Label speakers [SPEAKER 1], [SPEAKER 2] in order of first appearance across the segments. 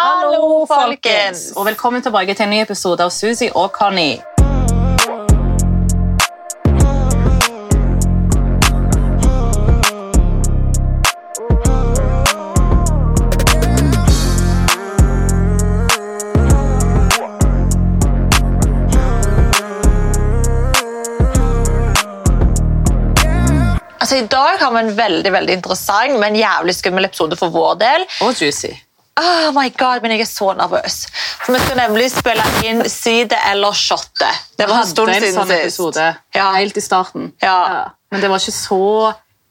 [SPEAKER 1] Hallo, folkens! Og velkommen tilbake til en ny episode av Susi og Conny.
[SPEAKER 2] Altså, I dag har vi en veldig veldig interessant, men jævlig skummel episode for vår del.
[SPEAKER 1] Og Juicy.
[SPEAKER 2] Oh my god, men jeg er så nervøs. For Vi skal nemlig spille inn Side eller shotte. Det var en stund
[SPEAKER 1] Hadde
[SPEAKER 2] siden
[SPEAKER 1] sånn
[SPEAKER 2] sist.
[SPEAKER 1] episode
[SPEAKER 2] Ja.
[SPEAKER 1] helt i starten.
[SPEAKER 2] Ja.
[SPEAKER 1] Men det var ikke så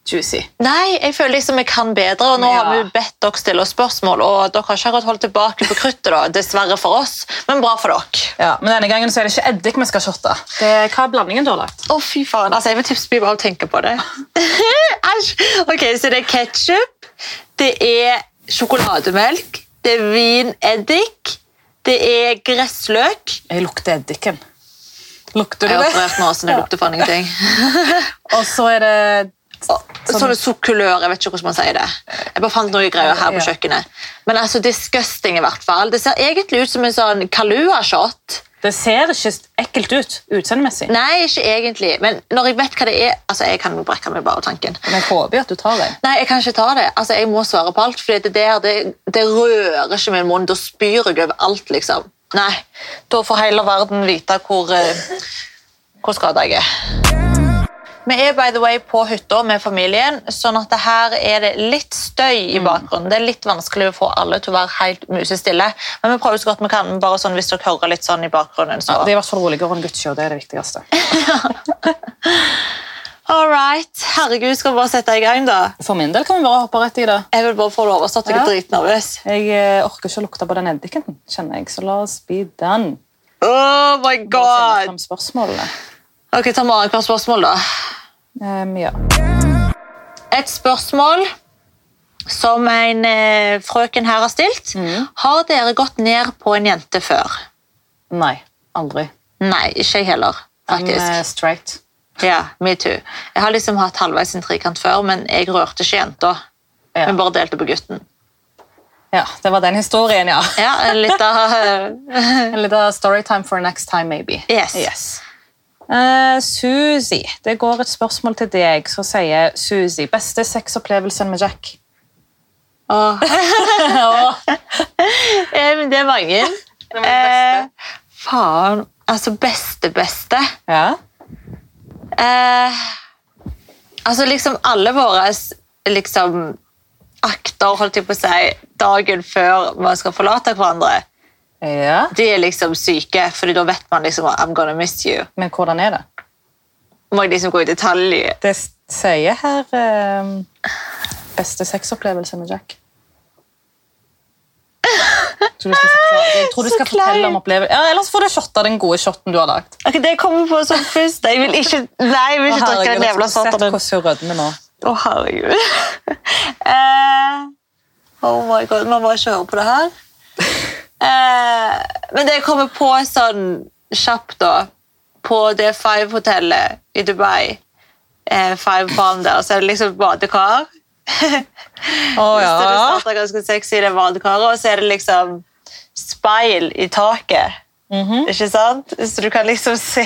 [SPEAKER 1] juicy.
[SPEAKER 2] Nei, jeg føler liksom jeg kan bedre, og nå
[SPEAKER 1] Ja.
[SPEAKER 2] har vi bedt dere stille oss spørsmål, og dere har ikke akkurat holdt tilbake på kruttet, da. Dessverre for oss, men bra for dere.
[SPEAKER 1] Ja, Men denne gangen så er det ikke eddik vi skal shotte. Det er hva er blandingen du har lagt?
[SPEAKER 2] Å, fy faen. Altså, jeg vil tipsby bare av å tenke på det. Æsj! Ok, så det er ketchup, det er sjokolademelk, det er vineddik, det er gressløk.
[SPEAKER 1] Jeg lukter eddiken. Lukter
[SPEAKER 2] Jeg
[SPEAKER 1] du
[SPEAKER 2] har
[SPEAKER 1] det?
[SPEAKER 2] operert nå, så det lukter faen ingenting.
[SPEAKER 1] Og så er det
[SPEAKER 2] Sånn sånn sukkulør, jeg vet ikke hvordan man sier det. Jeg bare fant noe greier her på
[SPEAKER 1] Ja.
[SPEAKER 2] kjøkkenet. Men altså, disgusting i hvert fall. Det ser egentlig ut som en sånn Kalua-shot.
[SPEAKER 1] Det ser ikke ekkelt ut utseendemessig.
[SPEAKER 2] Nei, ikke egentlig, men når jeg vet hva det er, altså, jeg kan jo brekke meg bare av tanken.
[SPEAKER 1] Men jeg håper at du tar det.
[SPEAKER 2] Nei, jeg kan ikke ta det. Altså, jeg må svare på alt, for det, der, det, det rører ikke min munn. Da spyr jeg over alt, liksom. Nei, da får hele verden vite hvor, eh, hvor skada jeg er. Vi er by the way på hytta med familien, sånn at det her er det litt støy i bakgrunnen. Det er litt vanskelig å få alle til å være helt musestille, men vi prøver så godt vi kan. bare sånn Hvis dere hører litt sånn i bakgrunnen, så
[SPEAKER 1] Det er i hvert fall roligere enn Gucci, og det er det viktigste.
[SPEAKER 2] All right. Herregud, skal vi bare sette i gang, da?
[SPEAKER 1] For min del kan vi bare hoppe rett i det.
[SPEAKER 2] Jeg vil bare få det overstått. Jeg
[SPEAKER 1] Ja.
[SPEAKER 2] er dritnervøs.
[SPEAKER 1] Jeg eh, orker ikke å lukte på den eddiken, kjenner jeg, så la oss bli den.
[SPEAKER 2] Oh my
[SPEAKER 1] Bare finne
[SPEAKER 2] god!
[SPEAKER 1] fram spørsmålene.
[SPEAKER 2] Ok, ta Maren hver spørsmål da.
[SPEAKER 1] Em, Ehm, ja.
[SPEAKER 2] Et spørsmål som en eh, frøken her har stilt. Har dere gått ned på en jente før?
[SPEAKER 1] Nei, aldri.
[SPEAKER 2] Nei, ikke jeg heller,
[SPEAKER 1] Den er
[SPEAKER 2] faktisk.
[SPEAKER 1] straight.
[SPEAKER 2] Ja, me too. Jeg har liksom hatt halvveis en trikant før, men jeg rørte ikke jenta.
[SPEAKER 1] Ja.
[SPEAKER 2] Men bare delte på gutten.
[SPEAKER 1] Ja, det var den historien, ja.
[SPEAKER 2] Ja, litt av... eh,
[SPEAKER 1] En liten storytime for next time, maybe.
[SPEAKER 2] Yes.
[SPEAKER 1] Eh, Susi, det går et spørsmål til deg som sier Susi, beste sexopplevelsen med Jack?
[SPEAKER 2] Åh. Eh, men det er mange.
[SPEAKER 1] var den beste.
[SPEAKER 2] Eh, faen, altså beste-beste.
[SPEAKER 1] Ja.
[SPEAKER 2] Eh, altså liksom alle våre liksom, akter, holdt jeg på å si, dagen før man skal forlate hverandre,
[SPEAKER 1] ja.
[SPEAKER 2] de er liksom syke, fordi da vet man liksom I'm gonna miss you.
[SPEAKER 1] Men hvordan er det?
[SPEAKER 2] Må jeg liksom gå i detalj?
[SPEAKER 1] Det s- sier her em, beste sexopplevelse med Jack. Tror du skal forklare- Jeg tror du
[SPEAKER 2] Så
[SPEAKER 1] skal fortelle om
[SPEAKER 2] kleint.
[SPEAKER 1] opplevelsen. Ja, ellers får du shotta den gode shotten du har lagd.
[SPEAKER 2] Ok, Det jeg kommer på som først. Jeg vil ikke, nei, jeg vil
[SPEAKER 1] Å,
[SPEAKER 2] ikke drikke
[SPEAKER 1] herregud, altså,
[SPEAKER 2] den jævla
[SPEAKER 1] sett
[SPEAKER 2] satan. Å,
[SPEAKER 1] hvordan hun rødmer nå.
[SPEAKER 2] herregud. eh, oh my god, man må ikke høre på det her. Eh, men det jeg kommer på sånn kjapt da, på det Five-hotellet i Dubai, eh, Five Palm der, så er det liksom et badekar.
[SPEAKER 1] Å
[SPEAKER 2] Så det starter ganske sexy i det badekaret, og så er det liksom speil i taket. Ikke sant? Så du kan liksom se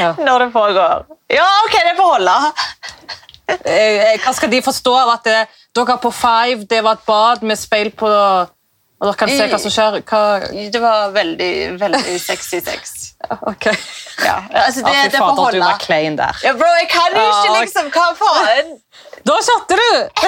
[SPEAKER 1] Ja.
[SPEAKER 2] når det pågår. Ja, ok, det får holde.
[SPEAKER 1] Eh, eh, Hva skal de forstå av at det, dere på Five, det var et bad med speil på Og dere kan se hva som skjer? Hva
[SPEAKER 2] Det var veldig, veldig sexy sex.
[SPEAKER 1] Ok.
[SPEAKER 2] Ja, altså det,
[SPEAKER 1] Ja, fy
[SPEAKER 2] det får
[SPEAKER 1] fader, du
[SPEAKER 2] holde.
[SPEAKER 1] var klein der.
[SPEAKER 2] Ja, bro, jeg kan jo ikke
[SPEAKER 1] Ja,
[SPEAKER 2] liksom, hva faen?
[SPEAKER 1] Da shotter du!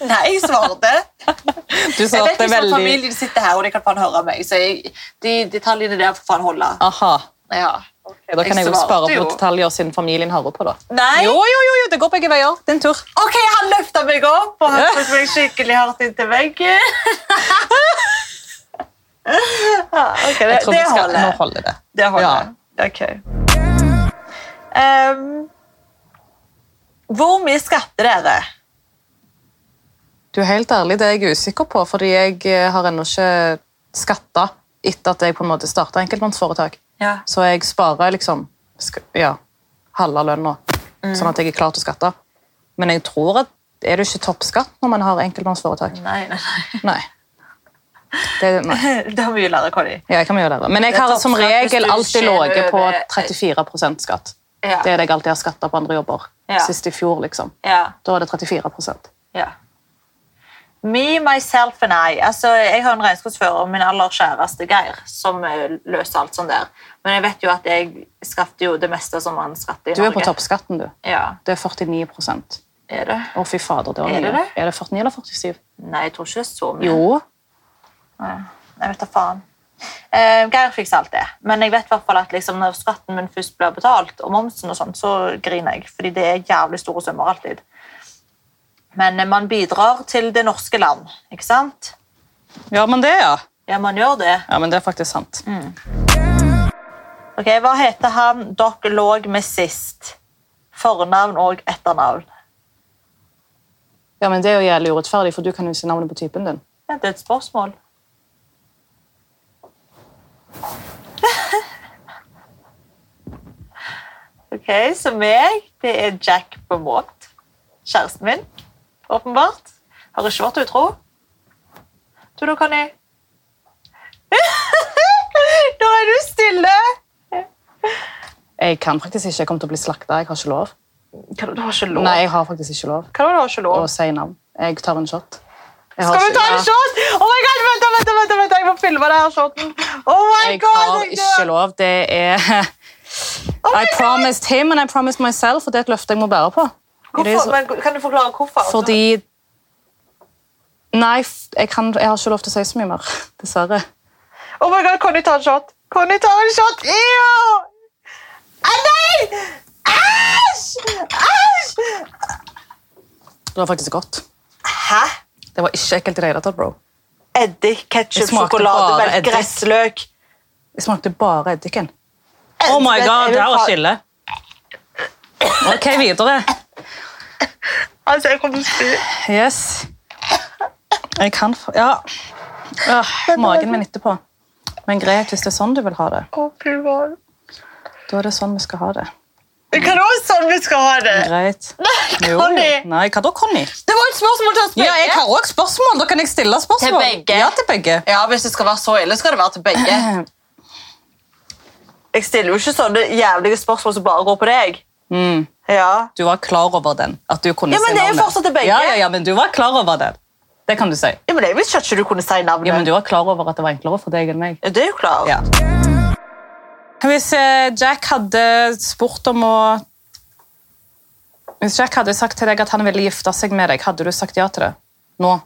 [SPEAKER 2] Nei, jeg svarte.
[SPEAKER 1] Du
[SPEAKER 2] Jeg vet
[SPEAKER 1] svarte
[SPEAKER 2] ikke om
[SPEAKER 1] veldig
[SPEAKER 2] familien sitter her, og de kan faen høre meg, så jeg, de detaljene der får faen holde.
[SPEAKER 1] Aha.
[SPEAKER 2] Ja.
[SPEAKER 1] Ok, Da kan jeg jo
[SPEAKER 2] svarte
[SPEAKER 1] spare på
[SPEAKER 2] jo.
[SPEAKER 1] detaljer siden familien hører på. da.
[SPEAKER 2] Nei.
[SPEAKER 1] Jo, jo, jo, jo, det går begge veier. Din tur.
[SPEAKER 2] Ok, han løftet meg opp, og han
[SPEAKER 1] Ja.
[SPEAKER 2] tok meg skikkelig hardt inn til veggen. Ja, ok, det,
[SPEAKER 1] Jeg tror
[SPEAKER 2] det
[SPEAKER 1] vi skal, nå
[SPEAKER 2] holder.
[SPEAKER 1] holder det.
[SPEAKER 2] Det
[SPEAKER 1] Ja.
[SPEAKER 2] holder. Ok. Ehm, hvor mye skatter dere?
[SPEAKER 1] Du er helt ærlig, det er jeg usikker på, fordi jeg eh, har ennå ikke skatta etter at jeg på en måte starta enkeltmannsforetak.
[SPEAKER 2] Ja.
[SPEAKER 1] Så jeg sparer liksom sk- ja, halve lønna,
[SPEAKER 2] Mm.
[SPEAKER 1] sånn at jeg er klar til å skatte. Men jeg tror at er det ikke toppskatt når man har enkeltmannsforetak?
[SPEAKER 2] Nei, nei, nei.
[SPEAKER 1] Nei. Det, nei.
[SPEAKER 2] Det har mye lære, Conny.
[SPEAKER 1] Ja, jeg kan gjøre det. da. Men jeg
[SPEAKER 2] Det er
[SPEAKER 1] har
[SPEAKER 2] topp
[SPEAKER 1] som
[SPEAKER 2] skatt hvis
[SPEAKER 1] regel
[SPEAKER 2] du
[SPEAKER 1] alltid
[SPEAKER 2] tjener
[SPEAKER 1] ligget på
[SPEAKER 2] over-
[SPEAKER 1] 34 skatt.
[SPEAKER 2] Ja.
[SPEAKER 1] Det er det jeg alltid har skatta på andre jobber.
[SPEAKER 2] Ja.
[SPEAKER 1] Sist i fjor, liksom.
[SPEAKER 2] Ja.
[SPEAKER 1] Da var det 34
[SPEAKER 2] ja. Me, myself and I. Altså, jeg har en regnskapsfører, min aller kjæreste Geir, som eh, løser alt sånt der. Men jeg vet jo at jeg skatter jo det meste som man skatter i
[SPEAKER 1] Du er på
[SPEAKER 2] Norge.
[SPEAKER 1] toppskatten, du.
[SPEAKER 2] Ja,
[SPEAKER 1] Det er 49
[SPEAKER 2] er det?
[SPEAKER 1] Å, fy fader, det var
[SPEAKER 2] Er det
[SPEAKER 1] mye.
[SPEAKER 2] det?
[SPEAKER 1] Er det 49 eller 47?
[SPEAKER 2] Nei, jeg tror ikke det er så mye.
[SPEAKER 1] Jo.
[SPEAKER 2] Jeg vet da faen. Eh, Geir fikser alt det, men jeg vet i hvert fall at liksom, når skatten min først blir betalt, og momsen og sånn, så griner jeg, fordi det er jævlig store summer alltid. Men eh, man bidrar til det norske land, ikke sant?
[SPEAKER 1] Gjør man det, ja?
[SPEAKER 2] Ja, man gjør det.
[SPEAKER 1] Ja, men det er faktisk sant.
[SPEAKER 2] Mm. Ok, Hva heter han dere lå med sist? Fornavn og etternavn.
[SPEAKER 1] Ja, men Det er jo jævlig urettferdig, for du kan jo si navnet på typen din.
[SPEAKER 2] Ja, det er et spørsmål. ok, så meg, det er Jack på Maud. Kjæresten min, åpenbart. Har ikke vært utro. Du da, Conny? Nå er du stille!
[SPEAKER 1] Jeg kan faktisk ikke. Jeg kommer til å bli slakta. Jeg har ikke lov.
[SPEAKER 2] Hva da, du har ikke lov?
[SPEAKER 1] Nei, jeg har faktisk ikke lov
[SPEAKER 2] Hva da, du har ikke
[SPEAKER 1] å
[SPEAKER 2] lov?
[SPEAKER 1] si navn. Jeg tar en shot. Jeg har
[SPEAKER 2] Skal vi
[SPEAKER 1] ikke-
[SPEAKER 2] ta
[SPEAKER 1] Ja.
[SPEAKER 2] en shot? Oh my god, vent, da, vent, da, vent, da, vent, da, jeg må filme det her shoten. Oh my
[SPEAKER 1] Jeg
[SPEAKER 2] god,
[SPEAKER 1] har
[SPEAKER 2] jeg
[SPEAKER 1] ikke
[SPEAKER 2] dør. Oh
[SPEAKER 1] lov. Det er I promised him and I promised myself, og det er et løfte jeg må bære på. Det er
[SPEAKER 2] Hvorfor,
[SPEAKER 1] så-
[SPEAKER 2] men, kan du forklare hvorfor?
[SPEAKER 1] Fordi Nei, f- jeg, kan, jeg har ikke lov til å si så mye mer, dessverre.
[SPEAKER 2] Oh my god, Conny tar en shot. Conny tar en shot. Ew! Ah, nei! Æsj! Æsj!
[SPEAKER 1] Det var faktisk godt.
[SPEAKER 2] Hæ?
[SPEAKER 1] Det var ikke ekkelt i det hele tatt, bro.
[SPEAKER 2] Eddik,
[SPEAKER 1] Det
[SPEAKER 2] ketchup,
[SPEAKER 1] smakte
[SPEAKER 2] sjokolade,
[SPEAKER 1] bare
[SPEAKER 2] melk,
[SPEAKER 1] eddik.
[SPEAKER 2] gressløk.
[SPEAKER 1] Det smakte bare eddiken. Oh
[SPEAKER 2] Eddik, jeg vil ha-
[SPEAKER 1] skille. OK, videre.
[SPEAKER 2] Altså, jeg kommer til å spy.
[SPEAKER 1] Yes. Jeg kan f... Ja. Øh, magen min etterpå. Men greit, hvis det er sånn du vil ha det,
[SPEAKER 2] Å, fy faen.
[SPEAKER 1] da er det sånn vi skal ha det.
[SPEAKER 2] Det kan også være sånn vi skal ha det.
[SPEAKER 1] Greit.
[SPEAKER 2] Nei,
[SPEAKER 1] Jo, jo.
[SPEAKER 2] Conny.
[SPEAKER 1] Nei, hva da, Conny?
[SPEAKER 2] Det var et spørsmål til oss begge.
[SPEAKER 1] òg spørsmål. Da kan jeg stille
[SPEAKER 2] Til
[SPEAKER 1] spørsmål.
[SPEAKER 2] begge?
[SPEAKER 1] Ja, til begge.
[SPEAKER 2] Ja, hvis det skal være så ille, skal det være til begge. Jeg stiller jo ikke sånne jævlige spørsmål som bare går på deg.
[SPEAKER 1] Mm.
[SPEAKER 2] Ja.
[SPEAKER 1] Du var klar over den. At du kunne
[SPEAKER 2] Ja, men
[SPEAKER 1] si
[SPEAKER 2] det er jo
[SPEAKER 1] navnet.
[SPEAKER 2] fortsatt til begge.
[SPEAKER 1] Ja, ja, ja, men du var klar over den. Det kan du si.
[SPEAKER 2] Ja, men jeg visste ikke at du kunne si navnet.
[SPEAKER 1] Ja, men du var klar over at det var enklere for deg enn meg.
[SPEAKER 2] Ja, Det er jo klart.
[SPEAKER 1] Ja. Hvis eh, Jack hadde spurt om å Hvis Jack hadde sagt til deg at han ville gifte seg med deg, hadde du sagt ja til det? Nå?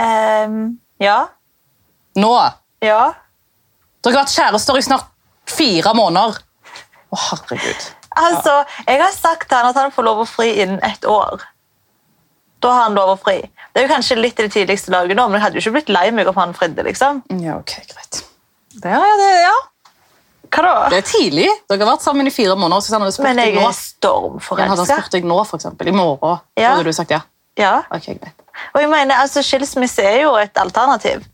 [SPEAKER 2] Ehm, ja.
[SPEAKER 1] Nå?
[SPEAKER 2] Ja.
[SPEAKER 1] Dere har vært kjærester i snart fire måneder. Å, herregud.
[SPEAKER 2] Altså, jeg har sagt til han at han får lov å fri innen ett år. Da har han lov å fri. Det er jo kanskje litt i det tidligste laget nå, men jeg hadde jo ikke blitt lei meg om han fridde, liksom.
[SPEAKER 1] Ja, ok, greit. Det er, det, ja.
[SPEAKER 2] Hva da?
[SPEAKER 1] det er tidlig. Dere har vært sammen i fire måneder. Så hvis han hadde spurt
[SPEAKER 2] Men
[SPEAKER 1] deg
[SPEAKER 2] jeg er
[SPEAKER 1] nå, Men hadde han
[SPEAKER 2] stormforelska.
[SPEAKER 1] spurt deg nå, for eksempel, i morgen,
[SPEAKER 2] Ja.
[SPEAKER 1] hadde du sagt ja?
[SPEAKER 2] Ja.
[SPEAKER 1] Ok, greit.
[SPEAKER 2] Og jeg mener, altså, skilsmisse er jo et alternativ.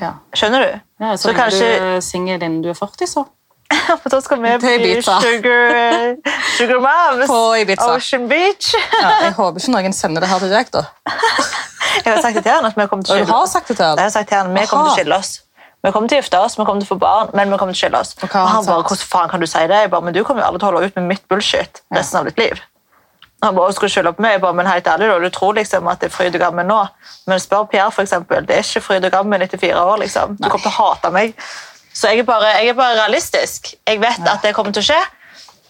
[SPEAKER 1] Ja.
[SPEAKER 2] Skjønner du?
[SPEAKER 1] Ja, så,
[SPEAKER 2] så kanskje
[SPEAKER 1] du er singel innen du er 40, så.
[SPEAKER 2] For da skal vi
[SPEAKER 1] Til
[SPEAKER 2] bli
[SPEAKER 1] Ibiza.
[SPEAKER 2] sugar, eh, sugar moms.
[SPEAKER 1] På Ibiza.
[SPEAKER 2] Ocean Beach.
[SPEAKER 1] Ja, jeg håper ikke noen sender det her til Jack, da.
[SPEAKER 2] Jeg har sagt det til han at vi kommer til å
[SPEAKER 1] Og du
[SPEAKER 2] skille
[SPEAKER 1] har
[SPEAKER 2] oss.
[SPEAKER 1] sagt det til
[SPEAKER 2] Jeg
[SPEAKER 1] han?
[SPEAKER 2] har sagt til han, vi kommer til å
[SPEAKER 1] Aha.
[SPEAKER 2] skille oss. Vi kommer til å gifte oss, vi kommer til å få barn, men vi kommer til å skille oss. Og
[SPEAKER 1] hva har han
[SPEAKER 2] han bare,
[SPEAKER 1] sagt?
[SPEAKER 2] hvordan faen kan du si det? Jeg bare, men du kommer jo aldri til å holde ut med mitt bullshit resten av ditt liv. Og Han bare, skulle skylde på meg. Jeg bare, men helt ærlig da, du tror liksom at det er fryd og gammen nå. Men spør Pierre for eksempel, det er ikke fryd og gammen etter fire år liksom. Du kommer til å hate meg. Så jeg er bare, jeg er bare realistisk. Jeg vet at det kommer til å skje.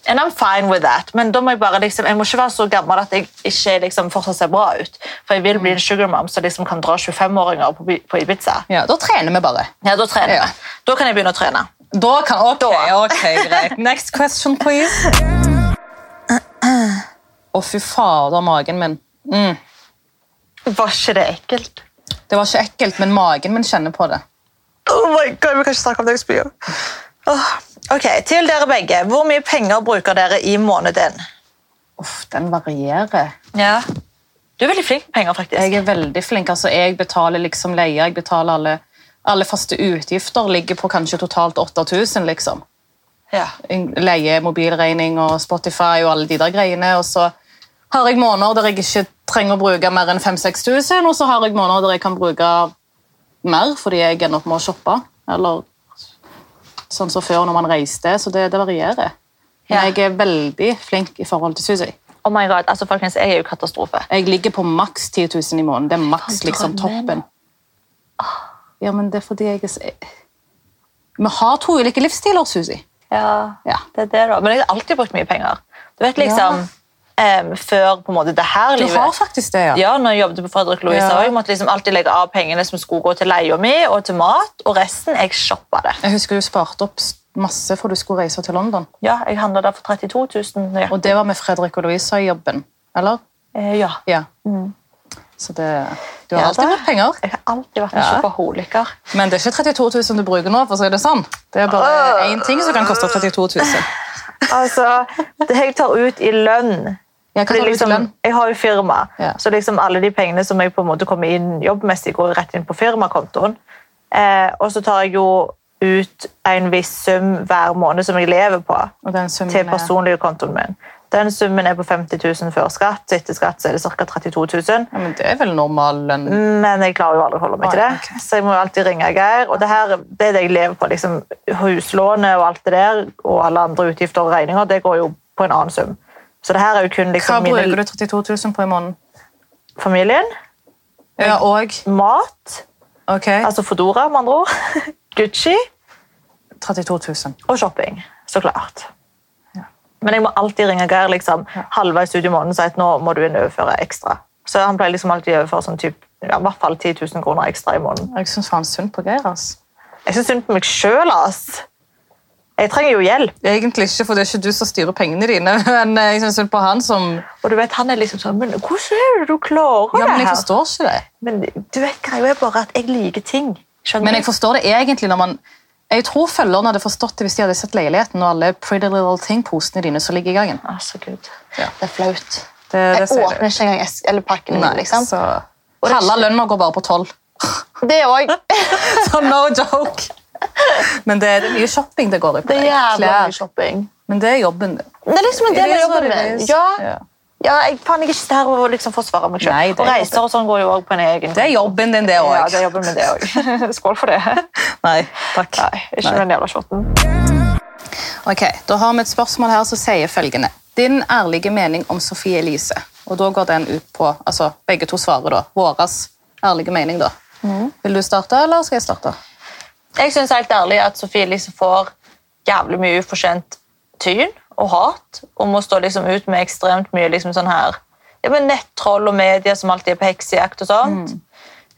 [SPEAKER 2] And I'm fine with that. Men da må jeg bare liksom, jeg må ikke være så gammel at jeg ikke liksom fortsatt ser bra ut. For jeg vil bli en sugar mom som liksom kan dra 25-åringer på, bi- på Ibiza.
[SPEAKER 1] Ja, da trener vi bare.
[SPEAKER 2] Ja, da trener
[SPEAKER 1] Ja.
[SPEAKER 2] jeg. Da kan jeg begynne å trene.
[SPEAKER 1] Da kan, ok,
[SPEAKER 2] Da.
[SPEAKER 1] ok, greit. Next question, please. Å, fy fader, magen min. Mm.
[SPEAKER 2] Var ikke det ekkelt?
[SPEAKER 1] Det var ikke ekkelt, men magen min kjenner på det.
[SPEAKER 2] Oh my god, vi kan ikke snakke om det jeg spyr. Åh. Ok, til dere begge. Hvor mye penger bruker dere i måneden?
[SPEAKER 1] Uff, den varierer.
[SPEAKER 2] Ja. Du er veldig flink med penger, faktisk.
[SPEAKER 1] Jeg er veldig flink. altså Jeg betaler liksom leie, jeg betaler alle, alle faste utgifter. Ligger på kanskje totalt 8000, liksom.
[SPEAKER 2] Ja.
[SPEAKER 1] Leie, mobilregning og Spotify og alle de der greiene. Og så har jeg måneder der jeg ikke trenger å bruke mer enn 5000-6000, og så har jeg måneder der jeg kan bruke mer fordi jeg ender opp med å shoppe. Eller sånn som før når man reiste, så det, det varierer. Men
[SPEAKER 2] Ja.
[SPEAKER 1] jeg er veldig flink i forhold til Susi.
[SPEAKER 2] Oh my god, altså folkens, Jeg er jo katastrofe.
[SPEAKER 1] Jeg ligger på maks 10 000 i måneden. Det er maks
[SPEAKER 2] Faen,
[SPEAKER 1] liksom
[SPEAKER 2] drømmen.
[SPEAKER 1] toppen. Ah. Ja, men det er fordi jeg er s- Vi har to ulike livsstiler, Susi.
[SPEAKER 2] Ja,
[SPEAKER 1] Ja.
[SPEAKER 2] det er det da. Men jeg har alltid brukt mye penger. Du vet liksom, em, Før på en måte det her
[SPEAKER 1] Du
[SPEAKER 2] livet
[SPEAKER 1] har faktisk det, ja.
[SPEAKER 2] Ja, når jeg jobbet på Fredrik Louise,
[SPEAKER 1] Ja.
[SPEAKER 2] og jeg måtte liksom alltid legge av pengene som skulle gå til leia mi og til mat, og resten jeg shoppa det.
[SPEAKER 1] Jeg husker du sparte opp s- masse for du skulle reise til London.
[SPEAKER 2] Ja, Jeg handla der for 32 000. Ja.
[SPEAKER 1] Og det var med Fredrik og Louisa i jobben, eller?
[SPEAKER 2] Eh, ja.
[SPEAKER 1] Ja. Så Mm. det, du har
[SPEAKER 2] Ja,
[SPEAKER 1] alltid
[SPEAKER 2] da.
[SPEAKER 1] brukt penger.
[SPEAKER 2] Jeg har alltid vært en
[SPEAKER 1] Ja.
[SPEAKER 2] shopaholiker.
[SPEAKER 1] Men det er ikke 32 000 du bruker nå, for å si det sånn. Det er bare én ting som kan koste 32 000.
[SPEAKER 2] Altså, det jeg tar ut i lønn
[SPEAKER 1] Jeg kan
[SPEAKER 2] Fordi
[SPEAKER 1] ta det ut i
[SPEAKER 2] liksom,
[SPEAKER 1] lønn.
[SPEAKER 2] jeg har jo firma,
[SPEAKER 1] Ja.
[SPEAKER 2] så liksom alle de pengene som jeg på en måte kommer inn jobbmessig, går jo rett inn på firmakontoen. Eh, og så tar jeg jo ut en viss sum hver måned som jeg lever på,
[SPEAKER 1] Og den summen
[SPEAKER 2] til
[SPEAKER 1] er-
[SPEAKER 2] personlige kontoen min. Den summen er på 50 000 før skatt, så etter skatt så er det ca. 32 000.
[SPEAKER 1] Ja, men det er vel normal lønn?
[SPEAKER 2] Men jeg klarer jo aldri å holde meg til det,
[SPEAKER 1] Nei, ok.
[SPEAKER 2] så jeg må jo alltid ringe Geir. Og det her det er det jeg lever på. liksom Huslånet og alt det der, og alle andre utgifter og regninger, det går jo på en annen sum. Så det her er jo kun
[SPEAKER 1] Hva
[SPEAKER 2] liksom
[SPEAKER 1] bruker
[SPEAKER 2] mine
[SPEAKER 1] du 32 000 på i måneden?
[SPEAKER 2] familien.
[SPEAKER 1] Ja, og
[SPEAKER 2] mat,
[SPEAKER 1] ok,
[SPEAKER 2] altså Fodora med andre ord, Gucci
[SPEAKER 1] 32 000.
[SPEAKER 2] og shopping, så klart. Men jeg må alltid ringe Geir liksom, halvveis ut i måneden og si at nå må du inn og overføre ekstra. Så han pleier liksom alltid å overføre sånn typ, ja, i hvert fall 10 000 kroner ekstra i måneden.
[SPEAKER 1] Jeg syns faen synd på Geir. ass.
[SPEAKER 2] Jeg synes synd på meg selv, ass. Jeg trenger jo hjelp.
[SPEAKER 1] Egentlig ikke, for det er ikke du som styrer pengene dine. Men jeg syns synd på han som
[SPEAKER 2] Og du vet, han er liksom sånn, men hvordan er det du klarer
[SPEAKER 1] Ja, men
[SPEAKER 2] det
[SPEAKER 1] jeg
[SPEAKER 2] her?
[SPEAKER 1] forstår ikke det.
[SPEAKER 2] Men du vet, greia er bare at jeg liker ting. Skjønner
[SPEAKER 1] Men jeg
[SPEAKER 2] du?
[SPEAKER 1] forstår det egentlig når man Jeg tror følgerne hadde forstått det hvis de hadde sett leiligheten og alle Pretty Little Thing-posene dine som ligger i gangen.
[SPEAKER 2] Altså, Gud.
[SPEAKER 1] Ja.
[SPEAKER 2] Det er flaut.
[SPEAKER 1] Det, det
[SPEAKER 2] Jeg
[SPEAKER 1] sier
[SPEAKER 2] åpner ikke engang es- eller pakken min,
[SPEAKER 1] Nei,
[SPEAKER 2] liksom.
[SPEAKER 1] så... Halve lønna går bare på tolv.
[SPEAKER 2] Det òg.
[SPEAKER 1] Så no joke! Men det er mye shopping det går i på
[SPEAKER 2] Det er
[SPEAKER 1] deg.
[SPEAKER 2] jævla
[SPEAKER 1] Klær.
[SPEAKER 2] mye shopping.
[SPEAKER 1] Men det er jobben din.
[SPEAKER 2] Det er liksom en del
[SPEAKER 1] It
[SPEAKER 2] av
[SPEAKER 1] is
[SPEAKER 2] jobben
[SPEAKER 1] what it
[SPEAKER 2] min.
[SPEAKER 1] is.
[SPEAKER 2] Ja,
[SPEAKER 1] Ja.
[SPEAKER 2] ja jeg, faen, jeg er ikke der og liksom forsvarer meg
[SPEAKER 1] Nei,
[SPEAKER 2] selv.
[SPEAKER 1] det er
[SPEAKER 2] Og reiser og sånn går jo også på en egen
[SPEAKER 1] Det er jobben din, det òg.
[SPEAKER 2] Ja, det er jobben min, det òg. Skål for det.
[SPEAKER 1] Nei, takk.
[SPEAKER 2] Nei, ikke
[SPEAKER 1] Nei.
[SPEAKER 2] den jævla shotten.
[SPEAKER 1] Ok, Da har vi et spørsmål her som sier følgende. Din ærlige mening om Sofie Elise. Og da går den ut på altså Begge to svarer, da. Våras ærlige mening, da. Vil du starte, eller skal jeg starte?
[SPEAKER 2] Jeg syns helt ærlig at Sofie Elise får jævlig mye ufortjent tyn og hat. Og må stå liksom ut med ekstremt mye liksom sånn her ja, men nettroll og media som alltid er på heksejakt og sånt.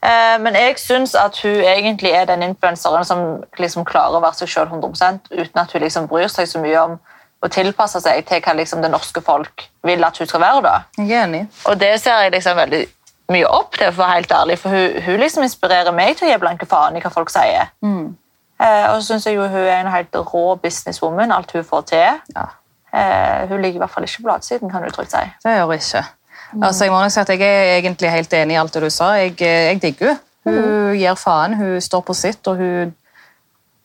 [SPEAKER 2] Eh, men jeg syns at hun egentlig er den influenseren som liksom klarer å være seg sjøl 100 uten at hun liksom bryr seg så mye om å tilpasse seg til hva liksom det norske folk vil at hun skal være. da.
[SPEAKER 1] Jeg er enig.
[SPEAKER 2] Og det ser jeg liksom veldig mye opp til, for å være helt ærlig. For hun, hun liksom inspirerer meg til å gi blanke faen i hva folk sier. Eh, og så syns jeg jo hun er en helt rå businesswoman, alt hun får til.
[SPEAKER 1] Ja,
[SPEAKER 2] Eh, hun ligger i hvert fall ikke på bladsiden, kan du trygt si.
[SPEAKER 1] Det gjør hun ikke. Altså, Jeg må nok si at jeg er egentlig helt enig i alt det du sa. Jeg, eh, jeg digger henne. Hun gir faen, hun står på sitt, og hun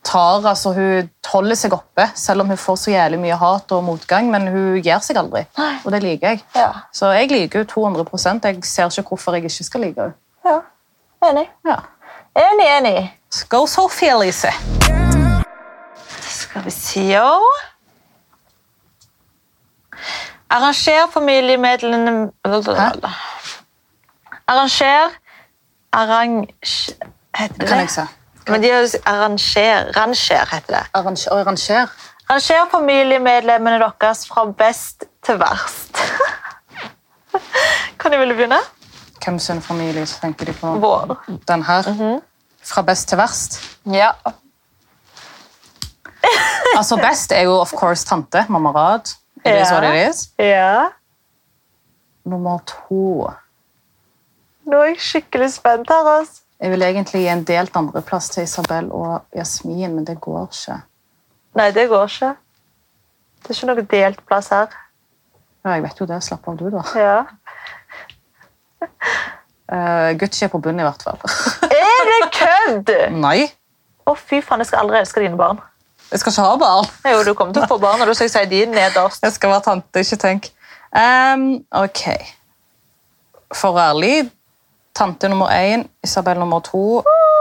[SPEAKER 1] tar, altså hun holder seg oppe, selv om hun får så jævlig mye hat og motgang, men hun gir seg aldri,
[SPEAKER 2] Nei.
[SPEAKER 1] og det liker jeg.
[SPEAKER 2] Ja.
[SPEAKER 1] Så jeg liker henne 200 Jeg ser ikke hvorfor jeg ikke skal like henne.
[SPEAKER 2] ja. Enig.
[SPEAKER 1] Ja.
[SPEAKER 2] Enig, enig.
[SPEAKER 1] Go Sophie Elise!
[SPEAKER 2] Skal vi se jo. Arranger familiemedlemmene
[SPEAKER 1] Hæ?
[SPEAKER 2] Arranger Arrang... Heter det
[SPEAKER 1] Kan
[SPEAKER 2] det?
[SPEAKER 1] jeg se.
[SPEAKER 2] Men de har jo s- arranger, ranger heter det.
[SPEAKER 1] Arranger, og arranger.
[SPEAKER 2] Ranger familiemedlemmene deres fra best til verst. kan jeg ville begynne?
[SPEAKER 1] Hvem sin familie så tenker de på?
[SPEAKER 2] Vår.
[SPEAKER 1] Den her. Fra best til verst.
[SPEAKER 2] Ja.
[SPEAKER 1] Altså Best er jo of course tante. Mamma Rad. It is
[SPEAKER 2] Ja.
[SPEAKER 1] what it is.
[SPEAKER 2] ja.
[SPEAKER 1] Nummer to
[SPEAKER 2] Nå er jeg skikkelig spent her, altså.
[SPEAKER 1] Jeg vil egentlig gi en delt andreplass til Isabel og Jasmin, men det går ikke.
[SPEAKER 2] Nei, det går ikke. Det er ikke noe delt plass her.
[SPEAKER 1] Ja, jeg vet jo det. Slapp av, du, da.
[SPEAKER 2] Ja.
[SPEAKER 1] Eh, Gucci er på bunnen, i hvert fall.
[SPEAKER 2] Er det kødd?
[SPEAKER 1] Nei!
[SPEAKER 2] Å, fy faen, jeg skal aldri elske dine barn.
[SPEAKER 1] Jeg skal ikke ha barn.
[SPEAKER 2] Jo, du kommer til å få barn, og du skal si de nederst.
[SPEAKER 1] Jeg skal være tante, ikke tenk. Ehm, ok. For å være ærlig, tante nummer én, Isabel nummer to,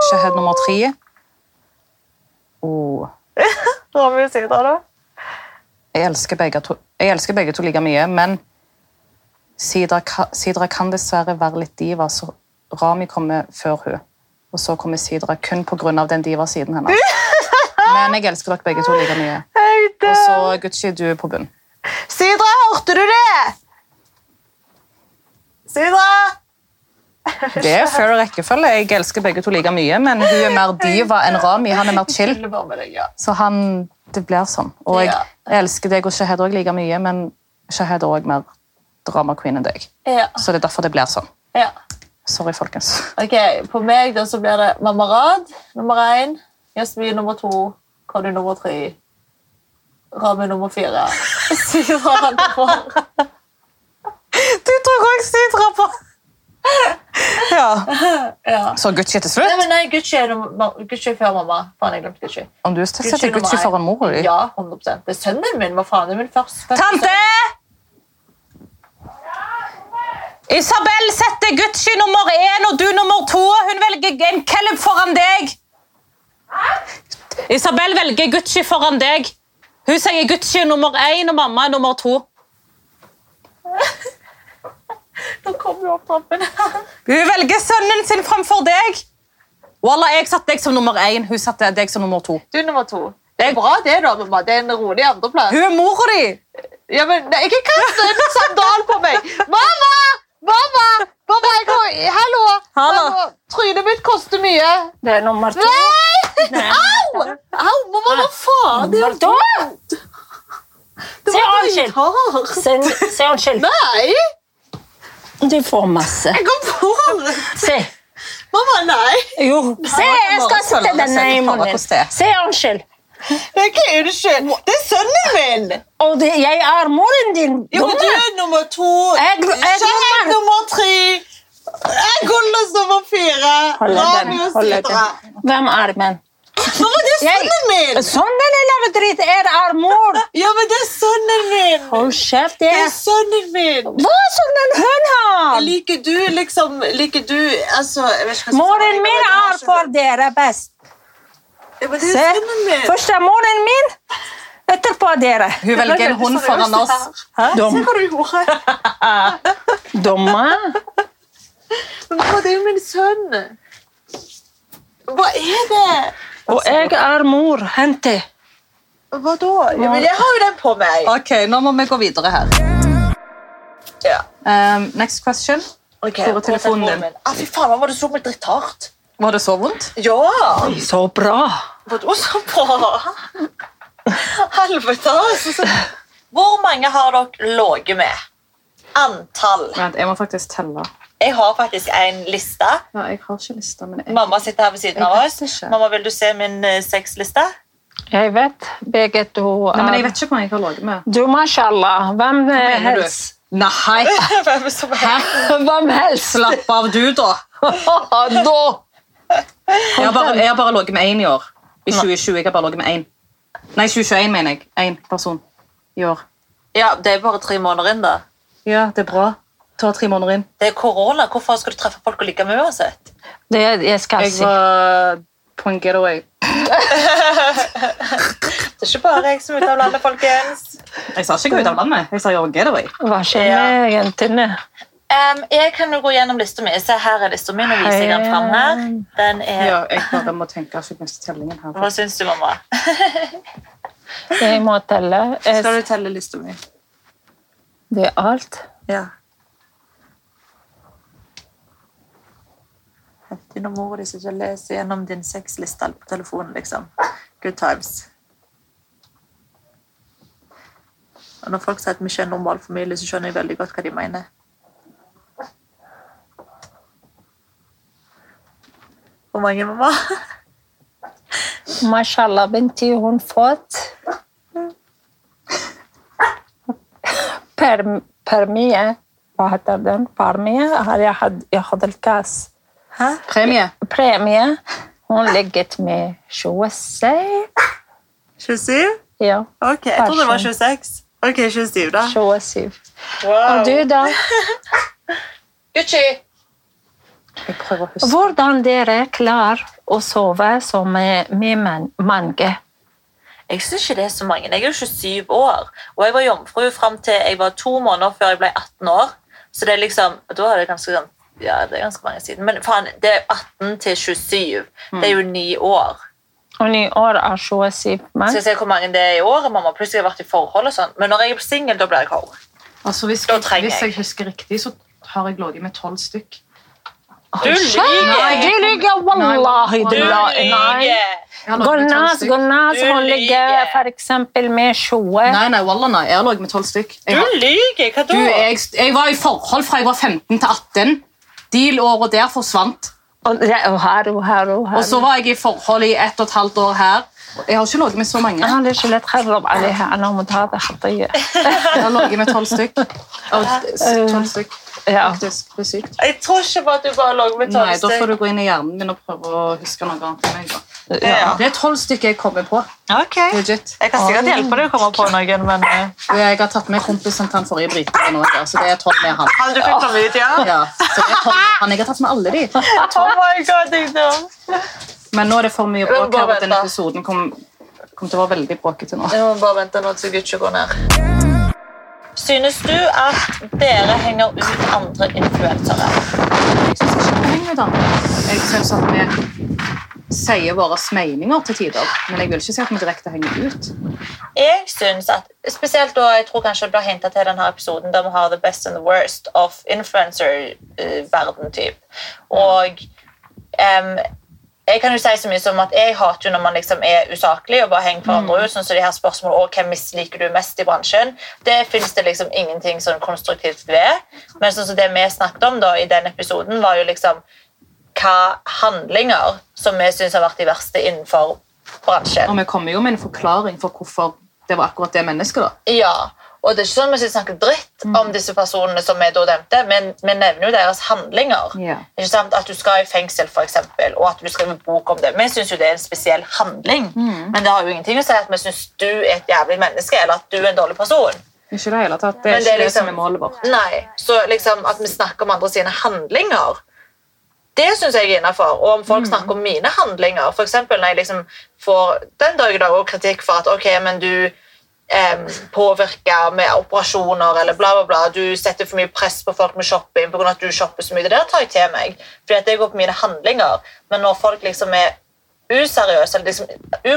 [SPEAKER 1] Shahed nummer tre. Oh.
[SPEAKER 3] Hva vil du si da, da?
[SPEAKER 1] Jeg elsker begge to, jeg elsker begge to like mye, men Sidra, ka- Sidra kan dessverre være litt diva, så Rami kommer før hun. Og så kommer Sidra kun pga. den diva-siden hennes. Men jeg elsker dere begge to like mye. Og så Gucci, du er på bunn.
[SPEAKER 3] Sidra, hørte du det? Sidra!
[SPEAKER 1] Det er fair rekkefølge. Jeg elsker begge to like mye, men hun er mer diva enn Rami. Han er mer chill.
[SPEAKER 2] Tuller bare med deg, ja.
[SPEAKER 1] Så han, det blir sånn. Og jeg,
[SPEAKER 2] Ja.
[SPEAKER 1] jeg elsker deg og Shahed òg like mye, men Shahed er òg mer drama queen enn deg.
[SPEAKER 2] Ja,
[SPEAKER 1] Så det er derfor det blir sånn.
[SPEAKER 2] ja.
[SPEAKER 1] Sorry, folkens.
[SPEAKER 2] Ok, På meg da så blir det Mamarad nummer én, Jasmin nummer to, Conny nummer tre, Rami nummer fire. Sidra nummer
[SPEAKER 1] Du tok òg sytrappa! Ja.
[SPEAKER 2] ja.
[SPEAKER 1] Så Gucci til
[SPEAKER 2] Nei,
[SPEAKER 1] slutt?
[SPEAKER 2] men nei, Gucci er, nummer, Gucci er før mamma. Faen, jeg glemte Gucci.
[SPEAKER 1] Om du setter
[SPEAKER 2] nummer
[SPEAKER 1] Gucci
[SPEAKER 2] én.
[SPEAKER 1] foran mora di?
[SPEAKER 2] Ja, 100 Det er sønnen min. Hva faen? Det er min først. første
[SPEAKER 1] Tante! Isabel setter Gucci nummer én og du nummer to. Hun velger en Caleb foran deg. Isabel velger Gucci foran deg. Hun sier Gucci er nummer én og mamma er nummer to.
[SPEAKER 2] sønn. Nå kom jo opp trappen.
[SPEAKER 1] Hun velger sønnen sin framfor deg. Wallah, jeg satte deg som nummer én. Hun satte deg som nummer to.
[SPEAKER 2] Du nummer to. Det er bra, det, da, mamma. Det er en rolig andreplass.
[SPEAKER 1] Hun er mora di!
[SPEAKER 2] Ja, men nei, ikke kast en sandal på meg! Mamma! Mamma! Mamma, jeg kan... Hallo!
[SPEAKER 1] Hallo.
[SPEAKER 2] Trynet mitt koster mye.
[SPEAKER 3] Det er nummer to.
[SPEAKER 2] Nei!
[SPEAKER 3] Nei.
[SPEAKER 2] Au! Au, mamma, hva faen? Det er jo
[SPEAKER 3] Nummer to.
[SPEAKER 2] dumt! Det
[SPEAKER 3] Se,
[SPEAKER 2] var
[SPEAKER 3] Arnskild.
[SPEAKER 2] dritarr.
[SPEAKER 3] Se, se unnskyld.
[SPEAKER 2] Nei!
[SPEAKER 3] Du får masse.
[SPEAKER 2] Jeg kom på det.
[SPEAKER 3] Se.
[SPEAKER 2] Mamma, nei!
[SPEAKER 3] Jo. Se, jeg skal sette denne i munnen. Se, unnskyld.
[SPEAKER 2] Det er ikke unnskyld. Det er sønnen min!
[SPEAKER 3] Og det, jeg er moren din,
[SPEAKER 2] Jo, men du
[SPEAKER 3] dumme.
[SPEAKER 2] er nummer to.
[SPEAKER 3] Jeg- jeg-
[SPEAKER 2] Shahid nummer tre. Jeg Gollas nummer fire.
[SPEAKER 3] Hold den,
[SPEAKER 2] Radius
[SPEAKER 3] hold den.
[SPEAKER 2] sidra.
[SPEAKER 3] Hvem er men?
[SPEAKER 2] Mamma, det er
[SPEAKER 3] Jeg-
[SPEAKER 2] sønnen min!
[SPEAKER 3] Sånn den lille dritt er, er mor.
[SPEAKER 2] Ja, men det er sønnen min!
[SPEAKER 3] Hold kjeft,
[SPEAKER 2] Det
[SPEAKER 3] jeg.
[SPEAKER 2] er sønnen min!
[SPEAKER 3] Hva som den hun har?
[SPEAKER 2] Liker du liksom Liker du altså, jeg vet ikke hva jeg skal si.
[SPEAKER 3] Moren min er for dere best.
[SPEAKER 2] Ja, men det
[SPEAKER 3] Se.
[SPEAKER 2] er sønnen min!
[SPEAKER 3] Først er moren min, etterpå dere.
[SPEAKER 1] Hun velger en hund foran oss.
[SPEAKER 3] Hæ?
[SPEAKER 2] Se
[SPEAKER 3] Dum,
[SPEAKER 2] hva du gjorde.
[SPEAKER 3] dumme.
[SPEAKER 2] Men Mamma, det er jo min sønn. Hva er det?
[SPEAKER 3] Og jeg er mor. Hente.
[SPEAKER 2] Hva da? Ja, men jeg har jo den på meg.
[SPEAKER 1] Ok, Nå må vi gå videre her.
[SPEAKER 2] Ja.
[SPEAKER 1] Um, next question.
[SPEAKER 2] Ok,
[SPEAKER 1] Hvor er telefonen din?
[SPEAKER 2] min? Ah, fy faen, mamma, du så meg drithardt.
[SPEAKER 1] Var det så vondt?
[SPEAKER 2] Ja!
[SPEAKER 3] Så bra.
[SPEAKER 2] Vadå så bra? Helvete, altså. Hvor mange har dere ligget med? Antall.
[SPEAKER 1] Vent, Jeg må faktisk telle.
[SPEAKER 2] Jeg har faktisk en liste.
[SPEAKER 1] Ja, jeg har ikke lista, men jeg...
[SPEAKER 2] Mamma sitter her ved siden
[SPEAKER 1] Jeg
[SPEAKER 2] av
[SPEAKER 1] vet
[SPEAKER 2] oss.
[SPEAKER 1] ikke.
[SPEAKER 2] Mamma, vil du se min eh, sexliste?
[SPEAKER 3] Jeg vet begge to
[SPEAKER 1] Nei, men jeg
[SPEAKER 3] er
[SPEAKER 1] vet ikke hvor mange jeg har ligget med.
[SPEAKER 3] Du, mashallah. Hvem eh,
[SPEAKER 1] mener du?
[SPEAKER 3] helst?
[SPEAKER 1] Nei,
[SPEAKER 2] Hvem som er
[SPEAKER 3] Hvem helst?
[SPEAKER 1] slapp av du, da.
[SPEAKER 3] da.
[SPEAKER 1] Jeg har bare, jeg har bare ligget med én i år. I 2020 jeg har bare ligget med én. Nei, 2021 mener jeg. Én person i år.
[SPEAKER 2] Ja, det er bare tre måneder inn, da.
[SPEAKER 1] Ja, det er bra. Ta tre måneder inn.
[SPEAKER 2] Det er korona. Hvorfor skal du treffe folk og like med uansett?
[SPEAKER 3] Det jeg skal
[SPEAKER 1] Jeg
[SPEAKER 3] si.
[SPEAKER 1] var på en getaway.
[SPEAKER 2] Det er ikke bare jeg som er ute av landet, folkens.
[SPEAKER 1] Jeg sa ikke gå ut av landet. Jeg sa jeg var på getaway.
[SPEAKER 3] Hva skjer med jentene?
[SPEAKER 2] Em, jeg kan jo gå gjennom lista mi. Se, her er lista mi. Nå viser jeg den fram her. Den er...
[SPEAKER 1] Ja, jeg bare må tenke at jeg mister tellingen her.
[SPEAKER 2] Hva syns du, mamma?
[SPEAKER 3] Jeg må telle. Jeg-
[SPEAKER 1] Skal du telle lista mi?
[SPEAKER 3] Det er alt.
[SPEAKER 1] Ja.
[SPEAKER 2] Din og mora di sitter og leser gjennom din sexliste på telefonen, liksom. Good times. Og når folk sier at vi ikke er en normal familie, så skjønner jeg veldig godt hva de mener. Hvor mange, mamma?
[SPEAKER 3] Mashallah, Binti, hun fått per, Permie. Hva heter den? Permie? Har jeg hatt, jeg hadde kass.
[SPEAKER 1] Premie.
[SPEAKER 3] Premie. Hun ligget med 26.
[SPEAKER 2] 27?
[SPEAKER 3] Ja.
[SPEAKER 2] Ok, jeg trodde det var
[SPEAKER 3] Kanskje.
[SPEAKER 2] 26.
[SPEAKER 4] Ok, 27 da.
[SPEAKER 3] 27. Og du, da?
[SPEAKER 2] Gucci!
[SPEAKER 1] Jeg prøver å huske.
[SPEAKER 3] Hvordan dere klarer å sove som med, med man- mange?
[SPEAKER 2] Jeg syns ikke det er så mange. Jeg er jo 27 år, og jeg var jomfru fram til jeg var to måneder før jeg ble 18 år. Så det er liksom Da er det ganske sånn Ja, det er ganske mange siden. Men faen, det er 18 til 27. Det er jo ni år.
[SPEAKER 3] Og ni år er 27
[SPEAKER 2] Skal
[SPEAKER 3] mann.
[SPEAKER 2] jeg se hvor mange det er i året, mamma? Plutselig har jeg vært i forhold og sånn. Men når jeg blir singel, da blir jeg hore.
[SPEAKER 1] Altså, hvis,
[SPEAKER 2] Da trenger
[SPEAKER 1] hvis
[SPEAKER 2] jeg.
[SPEAKER 1] jeg husker riktig, så har jeg ligget med tolv stykk.
[SPEAKER 2] Du
[SPEAKER 3] Nei,
[SPEAKER 2] lyver!
[SPEAKER 3] du ligger! Wallahi!
[SPEAKER 1] Nei,
[SPEAKER 3] Du
[SPEAKER 2] Du
[SPEAKER 3] lyver! Nei.
[SPEAKER 2] lyver!
[SPEAKER 1] Jeg har ligget med 12
[SPEAKER 3] Gornaz,
[SPEAKER 1] stykk.
[SPEAKER 3] Gornaz,
[SPEAKER 2] Du
[SPEAKER 3] hun ligger
[SPEAKER 2] lyver.
[SPEAKER 3] for eksempel med 20.
[SPEAKER 1] Nei, nei, wallah, nei. Jeg har ligget med tolv stykk. Jeg,
[SPEAKER 2] Du
[SPEAKER 1] har-
[SPEAKER 2] lyver! Hva
[SPEAKER 1] du,
[SPEAKER 2] da?
[SPEAKER 1] jeg, jeg var i forhold fra jeg var 15 til 18. De årene der forsvant.
[SPEAKER 3] Og det er- og her og her og her.
[SPEAKER 1] Og så var jeg i forhold i ett og et halvt år her. Jeg har ikke ligget med så mange.
[SPEAKER 3] أنا ليش لا تخرب عليها أنا متهابة خطية
[SPEAKER 1] Jeg har ligget med tolv stykk. Og s- 12 stykk,
[SPEAKER 3] يا
[SPEAKER 1] faktisk. Det er sykt.
[SPEAKER 2] Jeg tror ikke på at du bare lå med
[SPEAKER 1] Nei, da får
[SPEAKER 2] tolvstykk.
[SPEAKER 1] du gå inn i hjernen min og prøve å huske noe annet. enn meg, da.
[SPEAKER 2] Ja.
[SPEAKER 1] Det er tolv stykker jeg kommer på.
[SPEAKER 2] Ok.
[SPEAKER 1] Legit.
[SPEAKER 2] Jeg kan sikkert hjelpe deg å komme på noen, men eh,
[SPEAKER 1] Og Jeg har tatt med kompisen til han forrige briten. nå, da, Så det er tolv med han.
[SPEAKER 2] Han du fikk komme ut, ja?
[SPEAKER 1] Ja, så det er tolv med han. Jeg har tatt med alle de.
[SPEAKER 2] Oh my god, jeg dør.
[SPEAKER 1] Men nå er det for mye bråk
[SPEAKER 2] Bare
[SPEAKER 1] her. og Denne
[SPEAKER 2] vent, da.
[SPEAKER 1] episoden kom, kom til å være veldig bråkete nå.
[SPEAKER 2] Jeg må bare vente nå til Gucci går ned. Synes du at dere henger ut andre influensere?
[SPEAKER 1] Jeg syns ikke det henger med andre. Jeg syns at vi sier våre meninger til tider, men jeg vil ikke si at vi direkte henger ut.
[SPEAKER 2] Jeg synes at, spesielt da jeg tror kanskje det blir hintet til denne episoden, der vi har the best and the worst of influencer-verden-typ. Og em, jeg kan jo si så mye som at jeg hater jo når man liksom er usaklig og bare henger hverandre ut, sånn som de her spørsmålene «Å, hvem misliker du mest i bransjen? Det finnes det liksom ingenting sånn konstruktivt ved. Men sånn som det vi snakket om da i den episoden var jo liksom hva handlinger som vi synes har vært de verste innenfor bransjen.
[SPEAKER 1] Og vi kommer jo med en forklaring for hvorfor det var akkurat det mennesket. da.
[SPEAKER 2] Ja, og det er ikke sånn at vi snakker dritt om disse personene som vi da nevnte, men vi nevner jo deres handlinger.
[SPEAKER 1] Ja.
[SPEAKER 2] Ikke sant? At du skal i fengsel, for eksempel, og at du skriver bok om det. Vi syns jo det er en spesiell handling, men det har jo ingenting å si at vi syns du er et jævlig menneske, eller at du er en dårlig person.
[SPEAKER 1] Ikke det hele tatt. Det er
[SPEAKER 2] Men
[SPEAKER 1] ikke
[SPEAKER 2] det
[SPEAKER 1] det,
[SPEAKER 2] er liksom-
[SPEAKER 1] som er målet vårt.
[SPEAKER 2] Nei, så liksom at vi snakker om andre sine handlinger, det syns jeg er innafor. Og om folk
[SPEAKER 5] Mm.
[SPEAKER 2] snakker om mine handlinger, f.eks. når jeg liksom får den dag i dag også kritikk for at ok, men du um, påvirker med operasjoner eller bla, bla, bla, du setter for mye press på folk med shopping pga. at du shopper så mye. Det der tar jeg til meg, fordi at det går på mine handlinger. Men når folk liksom er useriøse eller liksom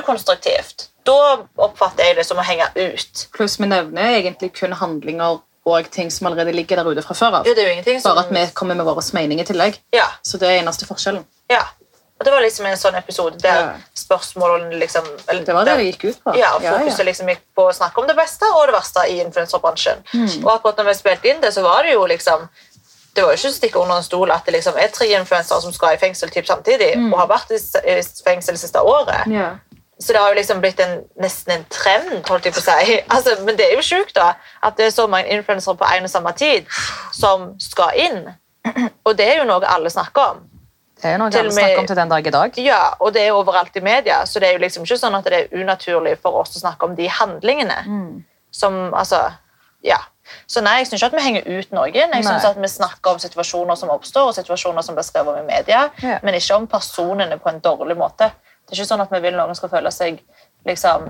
[SPEAKER 2] ukonstruktivt, da oppfatter jeg det som å henge ut.
[SPEAKER 1] Pluss vi nevner egentlig kun handlinger og ting som allerede ligger der ute fra før av.
[SPEAKER 2] Jo, det er jo ingenting som...
[SPEAKER 1] Bare at vi kommer med våre meninger i tillegg.
[SPEAKER 2] Ja.
[SPEAKER 1] Så det er eneste forskjellen.
[SPEAKER 2] Ja. Og det var liksom en sånn episode der
[SPEAKER 1] Ja.
[SPEAKER 2] spørsmålene liksom eller,
[SPEAKER 1] Det var det
[SPEAKER 2] der-
[SPEAKER 1] det gikk ut på.
[SPEAKER 2] Ja, fokuset liksom gikk på å snakke om det beste og det verste i influenserbransjen. Og akkurat når vi spilte inn det, så var det jo liksom det var jo ikke å stikke under en stol at det liksom er tre influensere som skal i fengsel typ samtidig, og har vært i s- i fengsel det siste året.
[SPEAKER 1] Ja.
[SPEAKER 2] Så det har jo liksom blitt en, nesten en trend, holdt jeg på å si. Altså, men det er jo sjukt, da. At det er så mange influensere på en og samme tid som skal inn. Og det er jo noe alle snakker om.
[SPEAKER 1] Det er noe
[SPEAKER 2] Til
[SPEAKER 1] alle
[SPEAKER 2] og med-
[SPEAKER 1] snakker om til den dag i dag.
[SPEAKER 2] Ja, og det er overalt i media, så det er jo liksom ikke sånn at det er unaturlig for oss å snakke om de handlingene.
[SPEAKER 1] Mm.
[SPEAKER 2] Som, altså, ja. Så nei, jeg syns ikke at vi henger ut noen. Jeg synes
[SPEAKER 1] Nei.
[SPEAKER 2] at Vi snakker om situasjoner som oppstår, og situasjoner som blir skrevet om i media,
[SPEAKER 1] Ja.
[SPEAKER 2] men ikke om personene på en dårlig måte. Det er ikke sånn at vi vil noen skal føle seg liksom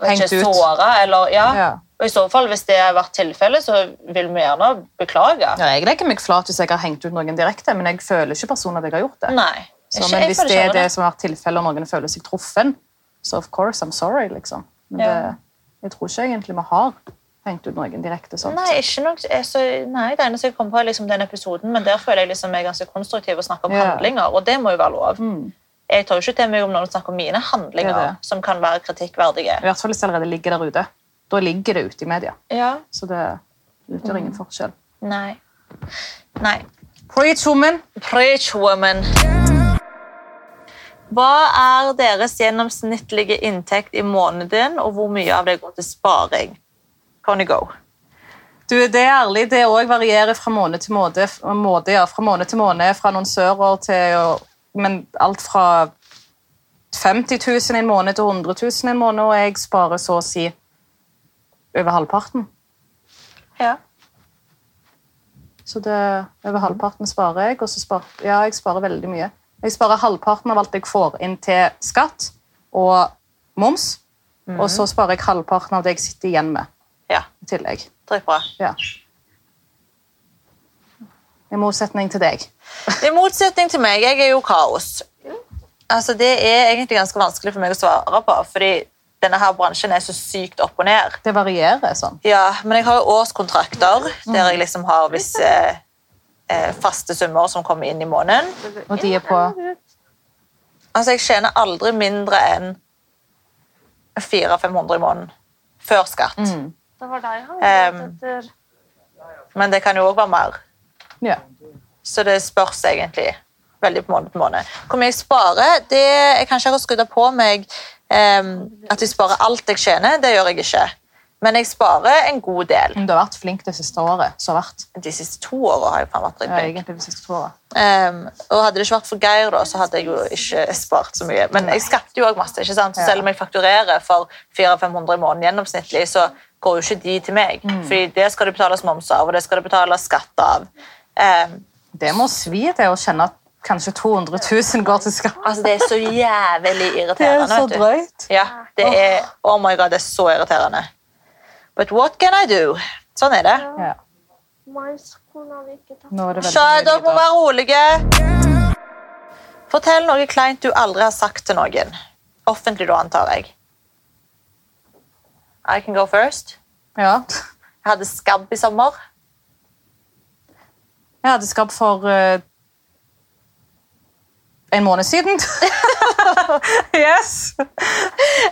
[SPEAKER 2] vet
[SPEAKER 1] Hengt
[SPEAKER 2] ikke,
[SPEAKER 1] ut.
[SPEAKER 2] såra. Eller, ja.
[SPEAKER 1] Ja.
[SPEAKER 2] Og i så fall, hvis det har vært tilfellet, så vil vi gjerne beklage.
[SPEAKER 1] Ja, jeg legger meg flat hvis jeg har hengt ut noen direkte, men jeg føler ikke personen at jeg har gjort det.
[SPEAKER 2] Nei.
[SPEAKER 1] Så,
[SPEAKER 2] ikke-
[SPEAKER 1] men
[SPEAKER 2] jeg
[SPEAKER 1] hvis
[SPEAKER 2] føler
[SPEAKER 1] det
[SPEAKER 2] ikke
[SPEAKER 1] er
[SPEAKER 2] over
[SPEAKER 1] det som har vært tilfellet, og noen føler seg truffen, så of course, I'm sorry, liksom. Men
[SPEAKER 2] Ja.
[SPEAKER 1] det, jeg tror ikke egentlig vi har hengt ut noen direkte sånn.
[SPEAKER 2] Nei, ikke nok, altså, nei, det eneste jeg kom på, er liksom den episoden, men der føler jeg liksom jeg er ganske konstruktiv og snakker om
[SPEAKER 1] Ja.
[SPEAKER 2] handlinger, og det må jo være lov.
[SPEAKER 1] Mm.
[SPEAKER 2] Jeg tar jo ikke til meg om noen snakker om mine handlinger,
[SPEAKER 1] Det er det.
[SPEAKER 2] som kan være kritikkverdige.
[SPEAKER 1] I hvert fall hvis det allerede ligger der ute. Da ligger det ute i media,
[SPEAKER 2] Ja,
[SPEAKER 1] så det utgjør
[SPEAKER 2] Mm.
[SPEAKER 1] ingen forskjell.
[SPEAKER 2] nei. Nei.
[SPEAKER 1] Preach, woman!
[SPEAKER 2] Preach, woman! Hva er deres gjennomsnittlige inntekt i måneden, og hvor mye av det går til sparing? Conny go.
[SPEAKER 1] Du, det er ærlig, det òg varierer fra måned til måned, f- måned, ja, fra måned til måned, fra annonsører til å- Men alt fra 50 000 en måned til 100 000 en måned, og jeg sparer så å si over halvparten.
[SPEAKER 5] Ja.
[SPEAKER 1] Så det, over halvparten sparer jeg, og så spar, ja, jeg sparer veldig mye. Jeg sparer halvparten av alt jeg får inn til skatt og moms, og så sparer jeg halvparten av det jeg sitter igjen med
[SPEAKER 5] ja.
[SPEAKER 1] i tillegg.
[SPEAKER 5] Dritbra.
[SPEAKER 1] Ja. I motsetning til deg.
[SPEAKER 5] I motsetning til meg, jeg er jo kaos. Altså, det er egentlig ganske vanskelig for meg å svare på, fordi denne her bransjen er så sykt opp og ned.
[SPEAKER 1] Det varierer sånn.
[SPEAKER 5] Ja, men jeg har jo årskontrakter der jeg liksom har visse eh, faste summer som kommer inn i måneden.
[SPEAKER 1] Og de er på
[SPEAKER 5] Altså, jeg tjener aldri mindre enn 400-500 i måneden før skatt.
[SPEAKER 2] Mm.
[SPEAKER 4] Det var deg han lette
[SPEAKER 5] Ehm.
[SPEAKER 4] etter.
[SPEAKER 5] Men det kan jo òg være mer.
[SPEAKER 1] Ja.
[SPEAKER 5] Så det spørs egentlig veldig på måned til måned. Hvor mye jeg sparer, det jeg kan ikke skrudd på meg em, at jeg sparer alt jeg tjener. Det gjør jeg ikke. Men jeg sparer en god del.
[SPEAKER 1] Men Du har vært flink det siste året. så vært.
[SPEAKER 5] De siste to årene har jeg faen vært
[SPEAKER 1] Ja,
[SPEAKER 5] riktig.
[SPEAKER 1] egentlig det siste året.
[SPEAKER 5] Em, og hadde det ikke vært for Geir, da, så hadde jeg jo ikke spart så mye. Men jeg skapte jo også masse, ikke sant? Så selv om jeg fakturerer for 400-500 i måneden gjennomsnittlig, så går jo ikke de til meg. mm. Fordi det skal det betales moms av, og det skal det betales skatt av. Ehm, Em,
[SPEAKER 1] Det må svi til å kjenne at kanskje 200 000 går til skatt.
[SPEAKER 5] altså, det er så jævlig irriterende. vet du.
[SPEAKER 1] drøyt.
[SPEAKER 5] Ja, det er, oh my god, det er så irriterende. But what can I do? Sånn er det.
[SPEAKER 1] Ja.
[SPEAKER 4] Mais kunne vi ikke tatt.
[SPEAKER 1] Nå er det
[SPEAKER 5] Så dere
[SPEAKER 1] veldig
[SPEAKER 5] må
[SPEAKER 1] mye
[SPEAKER 5] være rolige. Fortell noe kleint du aldri har sagt til noen. Offentlig, da, antar jeg. I can go first.
[SPEAKER 1] Ja.
[SPEAKER 5] Jeg hadde skabb i sommer.
[SPEAKER 1] Jeg hadde skapt for eh, en måned siden. yes!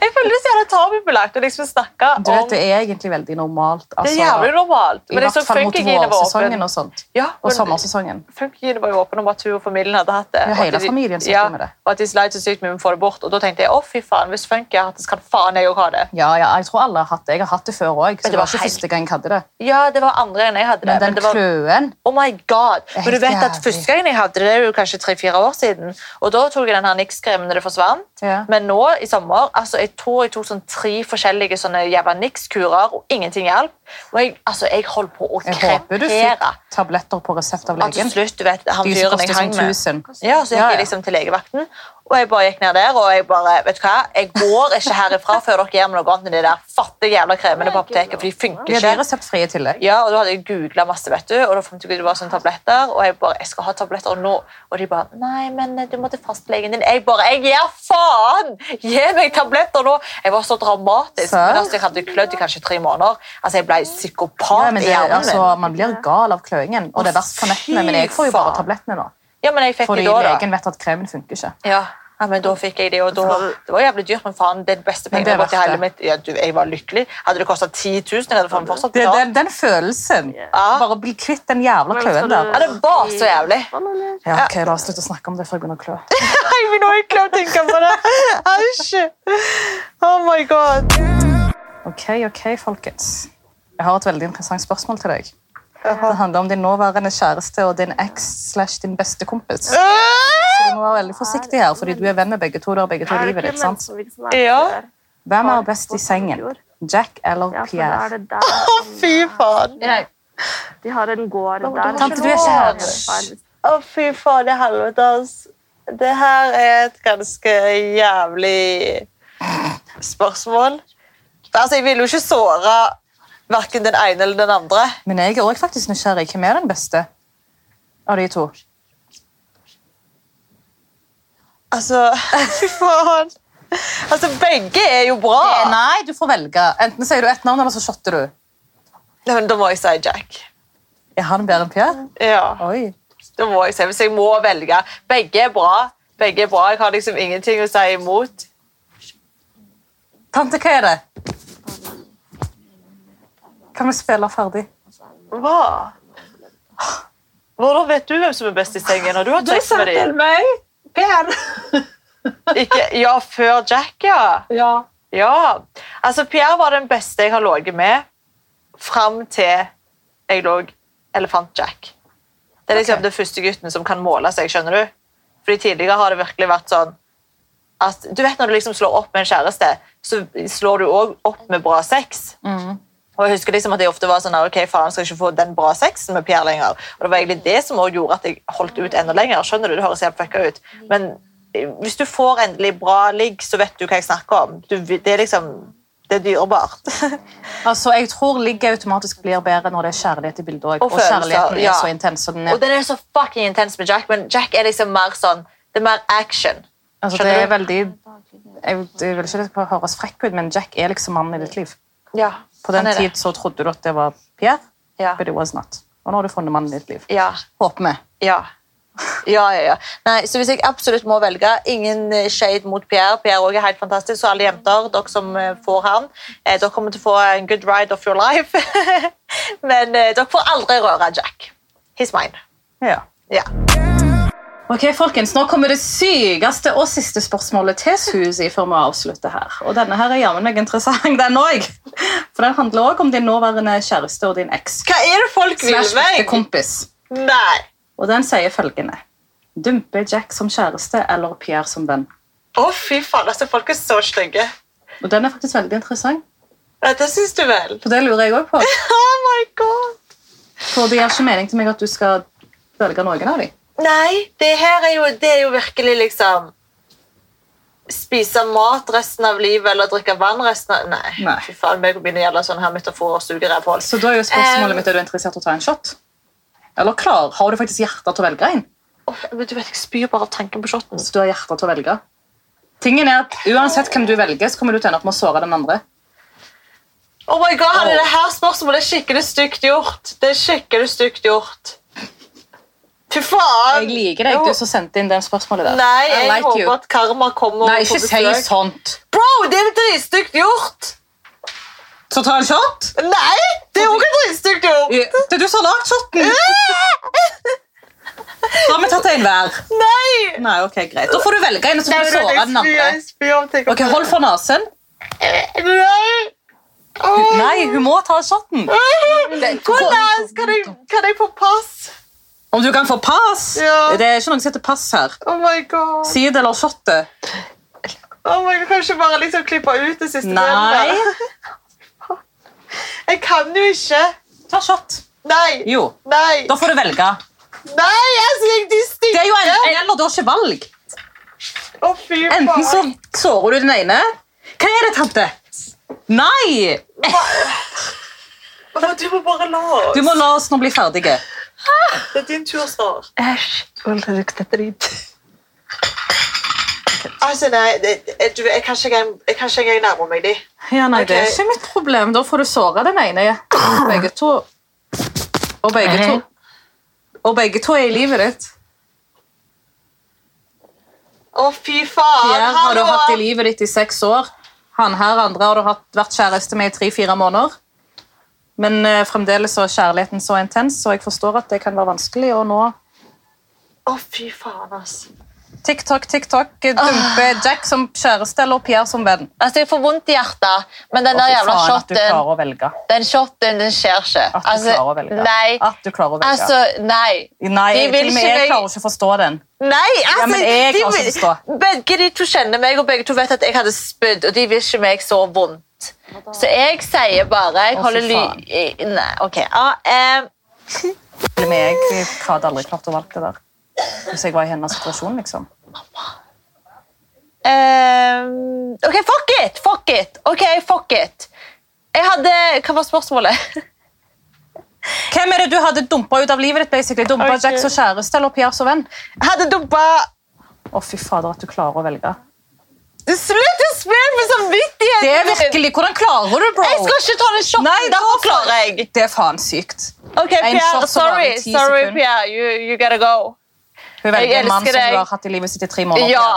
[SPEAKER 5] Jeg føler det så jævla tabubelagt å liksom snakke om
[SPEAKER 1] Du vet, det er egentlig veldig normalt.
[SPEAKER 5] Det
[SPEAKER 1] altså,
[SPEAKER 5] er jævlig normalt.
[SPEAKER 1] I
[SPEAKER 5] Men jeg så
[SPEAKER 1] hvert fall mot
[SPEAKER 5] funkygine var
[SPEAKER 1] vårsesongen
[SPEAKER 5] åpen.
[SPEAKER 1] og sånt.
[SPEAKER 5] Ja,
[SPEAKER 1] Og
[SPEAKER 5] men-
[SPEAKER 1] sommersesongen.
[SPEAKER 5] Funkygine var jo åpen om at hun og familien hadde hatt det.
[SPEAKER 1] Ja, hele
[SPEAKER 5] Og at de-
[SPEAKER 1] familien satt
[SPEAKER 5] ja,
[SPEAKER 1] med det.
[SPEAKER 5] Og at de sleit så sykt med å få det bort. Og da tenkte jeg å fy faen, hvis funky har hatt det, så kan faen jeg òg ha det.
[SPEAKER 1] Ja, ja, jeg tror alle har hatt det. Jeg har hatt det før òg.
[SPEAKER 5] Men
[SPEAKER 1] Det
[SPEAKER 5] det
[SPEAKER 1] var
[SPEAKER 5] var
[SPEAKER 1] ikke
[SPEAKER 5] helt-
[SPEAKER 1] første gang jeg hadde det.
[SPEAKER 5] Ja, det var andre enn jeg hadde det.
[SPEAKER 1] Men den
[SPEAKER 5] det var,
[SPEAKER 1] kløen
[SPEAKER 5] Oh my god!
[SPEAKER 1] er
[SPEAKER 5] Men du
[SPEAKER 1] helt
[SPEAKER 5] vet at
[SPEAKER 1] jævlig.
[SPEAKER 5] Første gangen jeg hadde det, det er jo kanskje tre-fire år siden. Og Da tok jeg den her Nix-kremen når det forsvant.
[SPEAKER 1] Ja.
[SPEAKER 5] Men nå i sommer altså jeg tror jeg tok sånn tre forskjellige sånne jævla Nix-kurer, og ingenting hjalp. Og jeg, altså, jeg holdt på å
[SPEAKER 1] Jeg håper du fikk
[SPEAKER 5] krepere.
[SPEAKER 1] tabletter på resept av
[SPEAKER 5] Og til
[SPEAKER 1] legen.
[SPEAKER 5] slutt, du vet, han
[SPEAKER 1] De som
[SPEAKER 5] fyren jeg
[SPEAKER 1] koster
[SPEAKER 5] hang
[SPEAKER 1] sånn
[SPEAKER 5] med
[SPEAKER 1] 1000.
[SPEAKER 5] ja, så gikk
[SPEAKER 1] Ja, ja.
[SPEAKER 5] jeg liksom til legevakten, og jeg bare gikk ned der, og jeg bare, vet du hva, jeg går ikke herifra før dere gjør meg noe annet enn de der fattige jævla kremene på apoteket, for de funker
[SPEAKER 1] Ja, de er
[SPEAKER 5] ikke.
[SPEAKER 1] reseptfrie i tillegg.
[SPEAKER 5] Ja, og da hadde jeg googlet masse, vet du, og da fant jeg ut det var sånne tabletter, og jeg bare, jeg skal ha tabletter nå, og de bare, nei, men eh, du må til fastlegen din. Jeg bare, jeg gjør faen! Gi meg tabletter nå! Jeg var så dramatisk,
[SPEAKER 1] Serr?
[SPEAKER 5] men altså, jeg hadde klødd i kanskje tre måneder. Altså, jeg ble psykopat
[SPEAKER 1] Ja, men
[SPEAKER 5] i
[SPEAKER 1] det,
[SPEAKER 5] hjernen
[SPEAKER 1] altså,
[SPEAKER 5] min.
[SPEAKER 1] man blir gal av kløingen, og det er verst på nettene. Men jeg får jo
[SPEAKER 5] Fy
[SPEAKER 1] bare
[SPEAKER 5] faen.
[SPEAKER 1] tablettene nå.
[SPEAKER 5] Ja, men jeg fikk
[SPEAKER 1] Fordi
[SPEAKER 5] det da, da.
[SPEAKER 1] legen vet at kremen funker ikke.
[SPEAKER 5] Ja. ja, men da fikk jeg det, og da, det var jævlig dyrt, men faen, det er det beste
[SPEAKER 1] Altså, Men det er
[SPEAKER 5] pengene jeg har gått i
[SPEAKER 1] verdt
[SPEAKER 5] hele
[SPEAKER 1] det.
[SPEAKER 5] mitt. Ja, du, jeg var lykkelig. Hadde det kostet 10 000, jeg hadde faen fortsatt
[SPEAKER 1] Det,
[SPEAKER 5] betalt.
[SPEAKER 1] den, den følelsen. Bare bli kvitt den jævla
[SPEAKER 4] Men skal
[SPEAKER 1] kløen
[SPEAKER 4] du-
[SPEAKER 1] der.
[SPEAKER 5] Ja, det var så jævlig.
[SPEAKER 1] Ja, ok, La oss slutte å snakke om det før jeg begynner å klø.
[SPEAKER 5] Jeg vil nå ikke klare å tenke på det. Æsj! Oh my god.
[SPEAKER 1] Ok, ok, folkens. Jeg har et veldig interessant spørsmål til deg. Det handler om din nåværende kjæreste og din eks slash din beste kompis. Så du må være veldig forsiktig her, fordi du er venn med begge to. Du har begge to i
[SPEAKER 4] Er det
[SPEAKER 1] livet
[SPEAKER 4] ikke
[SPEAKER 1] ditt, sant?
[SPEAKER 4] Mensonvik som er
[SPEAKER 5] Ja.
[SPEAKER 4] der?
[SPEAKER 1] Hvem er best i sengen? Jack eller
[SPEAKER 4] Ja, for da er
[SPEAKER 1] Pierre?
[SPEAKER 4] det der. som-
[SPEAKER 5] Fy faen.
[SPEAKER 4] De har en gård der.
[SPEAKER 1] Tante, du er ikke her.
[SPEAKER 5] Å, fy faen i helvete, ass. Det her er et ganske jævlig spørsmål. Altså, jeg vil jo ikke såre hverken den ene eller den andre.
[SPEAKER 1] Men jeg er også faktisk nysgjerrig. Hvem er den beste av de to?
[SPEAKER 5] Altså, fy faen. Altså, begge er jo bra.
[SPEAKER 1] Eh, Nei, du får velge. Enten sier du ett navn, eller så shotter du.
[SPEAKER 5] Nei, men da må jeg si Jack.
[SPEAKER 1] Er han bedre enn Pierre?
[SPEAKER 5] Ja,
[SPEAKER 1] Oi.
[SPEAKER 5] da må jeg si, Hvis jeg må velge Begge er bra. Begge er bra. Jeg har liksom ingenting å si imot.
[SPEAKER 1] Tante, hva er det? Kan vi spille ferdig?
[SPEAKER 5] Hva? Hvordan vet du hvem som er best i sengen? Har du hatt sex med dem?
[SPEAKER 3] meg! Per!
[SPEAKER 5] Ikke, ja, før Jack, ja.
[SPEAKER 3] Ja.
[SPEAKER 5] ja. Altså, Pierre var den beste jeg har ligget med fram til jeg lå Elefant Jack. Det er liksom
[SPEAKER 1] Ok.
[SPEAKER 5] den første gutten som kan måle seg, skjønner du? Fordi tidligere har det virkelig vært sånn at du vet når du liksom slår opp med en kjæreste, så slår du òg opp med bra sex. Og jeg husker liksom at jeg ofte var sånn ok, faen, skal jeg ikke få den bra sexen med Pierre lenger. Og det var egentlig det som også gjorde at jeg holdt ut enda lenger. Skjønner du, det høres helt fucka ut. Men eh, hvis du får endelig bra ligg, så vet du hva jeg snakker om. Du, det er liksom Det er dyrebart.
[SPEAKER 1] Altså, jeg tror ligg automatisk blir bedre når det er kjærlighet i bildet også.
[SPEAKER 5] Og
[SPEAKER 1] Og, kjærligheten
[SPEAKER 5] følelser, ja.
[SPEAKER 1] er så intens. Så den er,
[SPEAKER 5] Og den er så fucking intens med Jack, men Jack er liksom mer sånn Det er mer action.
[SPEAKER 1] altså, det
[SPEAKER 5] skjønner
[SPEAKER 1] er veldig jeg, jeg vil ikke det skal høres frekk ut, men Jack er liksom mannen i ditt liv.
[SPEAKER 5] Ja,
[SPEAKER 1] På den tid så trodde du at det var Pierre,
[SPEAKER 5] Ja.
[SPEAKER 1] but it was not. Og nå har du funnet mannen i ditt liv.
[SPEAKER 5] Ja.
[SPEAKER 1] Håper vi.
[SPEAKER 5] Ja. Ja, ja, ja. Nei, så Hvis jeg absolutt må velge Ingen eh, shade mot Pierre. Pierre også er helt fantastisk, så alle jenter, dere som eh, får han, eh, dere kommer til å få en good ride of your life. Men eh, dere får aldri røre Jack. He's mine.
[SPEAKER 1] Ja.
[SPEAKER 5] Ja.
[SPEAKER 1] Ok, folkens, Nå kommer det sykeste og siste spørsmålet til Susi før vi avslutter her. Og denne her er jammen meg interessant, den òg. For den handler òg om din nåværende kjæreste og din eks.
[SPEAKER 5] Hva er det folk vil
[SPEAKER 1] Slash
[SPEAKER 5] meg?
[SPEAKER 1] ektekompis.
[SPEAKER 5] Nei.
[SPEAKER 1] Og den sier følgende Dumpe Jack som kjæreste eller Pierre som venn.
[SPEAKER 5] Å, fy faen. altså Folk er så stygge.
[SPEAKER 1] Og den er faktisk veldig interessant,
[SPEAKER 5] Dette syns du vel?
[SPEAKER 1] for det lurer jeg òg på.
[SPEAKER 5] Oh my god.
[SPEAKER 1] For det gir ikke mening til meg at du skal velge noen av dem.
[SPEAKER 5] Nei, det her er jo, det er jo virkelig liksom Spise mat resten av livet eller drikke vann resten av Nei.
[SPEAKER 1] Nei.
[SPEAKER 5] Fy faen, meg å begynne å gjelde sånne her metaforer og sugerevhold.
[SPEAKER 1] Så da er jo
[SPEAKER 5] Eh,
[SPEAKER 1] spørsmålet mitt er du interessert i å ta en shot. Eller klar, har du faktisk hjerte til å velge en?
[SPEAKER 5] Åh, men du vet, Jeg spyr bare av tanken på shotten.
[SPEAKER 1] Så du har hjerte til å velge. Tingen er at Uansett hvem du velger, så kommer du til å ende opp med å såre den andre.
[SPEAKER 5] Oh my god, Hanne, det her spørsmålet er skikkelig stygt gjort. Det er skikkelig stygt gjort. Fy faen!
[SPEAKER 1] Jeg liker deg, du som sendte inn det spørsmålet der.
[SPEAKER 5] Nei,
[SPEAKER 1] I
[SPEAKER 5] jeg
[SPEAKER 1] like
[SPEAKER 5] håper
[SPEAKER 1] you.
[SPEAKER 5] at karma kommer
[SPEAKER 1] Nei, ikke
[SPEAKER 5] og får
[SPEAKER 1] si sånn.
[SPEAKER 5] besøk.
[SPEAKER 1] sånt.
[SPEAKER 5] Bro, det er dritstygt gjort!
[SPEAKER 1] Så ta en shot.
[SPEAKER 5] Nei! Det er også dritstygt gjort!
[SPEAKER 1] Det er du som har lagd shoten. Da har vi tatt en hver.
[SPEAKER 5] Nei!
[SPEAKER 1] Nei, ok, greit. Da får du velge en, og så får du såre den andre.
[SPEAKER 5] Jeg spyr av tanken på
[SPEAKER 1] Ok, Hold for nesen.
[SPEAKER 5] Nei!
[SPEAKER 1] Nei, hun må ta shoten.
[SPEAKER 5] Hvordan kan jeg, kan jeg få pass?
[SPEAKER 1] Om du kan få pass?
[SPEAKER 5] Ja.
[SPEAKER 1] Det er ikke noe som heter pass her.
[SPEAKER 5] Oh my god.
[SPEAKER 1] Side eller shotte?
[SPEAKER 5] Oh my god. Kan jeg ikke bare liksom klippe ut det siste?
[SPEAKER 1] Nei.
[SPEAKER 5] delen der? Jeg kan jo ikke.
[SPEAKER 1] Ta shot.
[SPEAKER 5] Nei.
[SPEAKER 1] Jo.
[SPEAKER 5] Nei.
[SPEAKER 1] Da får du velge.
[SPEAKER 5] Nei, altså, jeg de
[SPEAKER 1] Det er jo enten
[SPEAKER 5] stikker.
[SPEAKER 1] eller, du har ikke valg.
[SPEAKER 5] Å, fy faen.
[SPEAKER 1] Enten så sårer du den ene. Hva er det, tante? Nei!
[SPEAKER 5] Å, Du må bare la oss.
[SPEAKER 1] Du må la oss nå bli ferdige.
[SPEAKER 5] Det er din tur snart.
[SPEAKER 6] Æsj! Hold deg dritt.
[SPEAKER 5] Altså, nei, det, det- du, jeg kan ikke engang jeg kan ikke engang nærme meg de.
[SPEAKER 1] Ja, nei, Det er
[SPEAKER 5] Ok.
[SPEAKER 1] ikke mitt problem. Da får du såre den ene. Begge to. Og begge to. Og begge to er i livet ditt.
[SPEAKER 5] Å, fy faen.
[SPEAKER 1] Pierre har du
[SPEAKER 5] hallo.
[SPEAKER 1] hatt i livet ditt i seks år. Han her andre har du hatt, vært kjæreste med i tre-fire måneder. Men eh, fremdeles så er kjærligheten så intens, så jeg forstår at det kan være vanskelig. Og nå
[SPEAKER 5] Å, fy faen, Ah. altså.
[SPEAKER 1] TikTok, TikTok, eh, dumpe Jack som kjæreste eller Pierre som venn.
[SPEAKER 5] Altså, Jeg får vondt i hjertet, men den der jævla
[SPEAKER 1] at du
[SPEAKER 5] shotten
[SPEAKER 1] klarer å velge.
[SPEAKER 5] Den shotten, den skjer ikke. Altså,
[SPEAKER 1] At du klarer å velge.
[SPEAKER 5] Nei.
[SPEAKER 1] At du klarer å velge.
[SPEAKER 5] Altså, nei.
[SPEAKER 1] Nei,
[SPEAKER 5] de
[SPEAKER 1] jeg, til
[SPEAKER 5] vil
[SPEAKER 1] og med
[SPEAKER 5] ikke
[SPEAKER 1] jeg
[SPEAKER 5] meg-
[SPEAKER 1] klarer ikke å forstå den.
[SPEAKER 5] Nei, altså,
[SPEAKER 1] men jeg
[SPEAKER 5] de
[SPEAKER 1] klarer ikke
[SPEAKER 5] vil-
[SPEAKER 1] å forstå.
[SPEAKER 5] Begge de to kjenner meg, og begge to vet at jeg hadde spydd, og de vil ikke meg så vondt. Så jeg sier bare jeg
[SPEAKER 1] Å, fy
[SPEAKER 5] holder ly... Nei, ok. Ja, eh,
[SPEAKER 1] Til og med jeg, jeg hadde aldri klart å valge det der. Hvis jeg var i hennes situasjon, liksom.
[SPEAKER 5] eh, ok, fuck it! Fuck it! Ok, fuck it. Jeg hadde Hva var spørsmålet?
[SPEAKER 1] Hvem er det du hadde dumpa ut av livet ditt? basically? Dumpa
[SPEAKER 5] Ok.
[SPEAKER 1] Jack som kjæreste eller Pierre som venn?
[SPEAKER 5] Jeg hadde dumpa
[SPEAKER 1] Å, fy fader, at du klarer å velge.
[SPEAKER 5] Slutt å spille med samvittigheten!
[SPEAKER 1] Det er
[SPEAKER 5] min!
[SPEAKER 1] virkelig Hvordan klarer du, bro?
[SPEAKER 5] Jeg skal ikke ta den shotten.
[SPEAKER 1] Nei, da-
[SPEAKER 5] Derfor klarer jeg.
[SPEAKER 1] Det er faen sykt. En
[SPEAKER 5] Ok, Pierre,
[SPEAKER 1] shot som varer
[SPEAKER 5] sorry,
[SPEAKER 1] i ti
[SPEAKER 5] sorry
[SPEAKER 1] sekunder.
[SPEAKER 5] Pierre. You, you gotta go.
[SPEAKER 1] Hun velger
[SPEAKER 5] Jeg
[SPEAKER 1] en mann
[SPEAKER 5] elsker
[SPEAKER 1] som
[SPEAKER 5] deg.
[SPEAKER 1] hun har hatt i livet sitt i tre måneder.
[SPEAKER 5] Ja.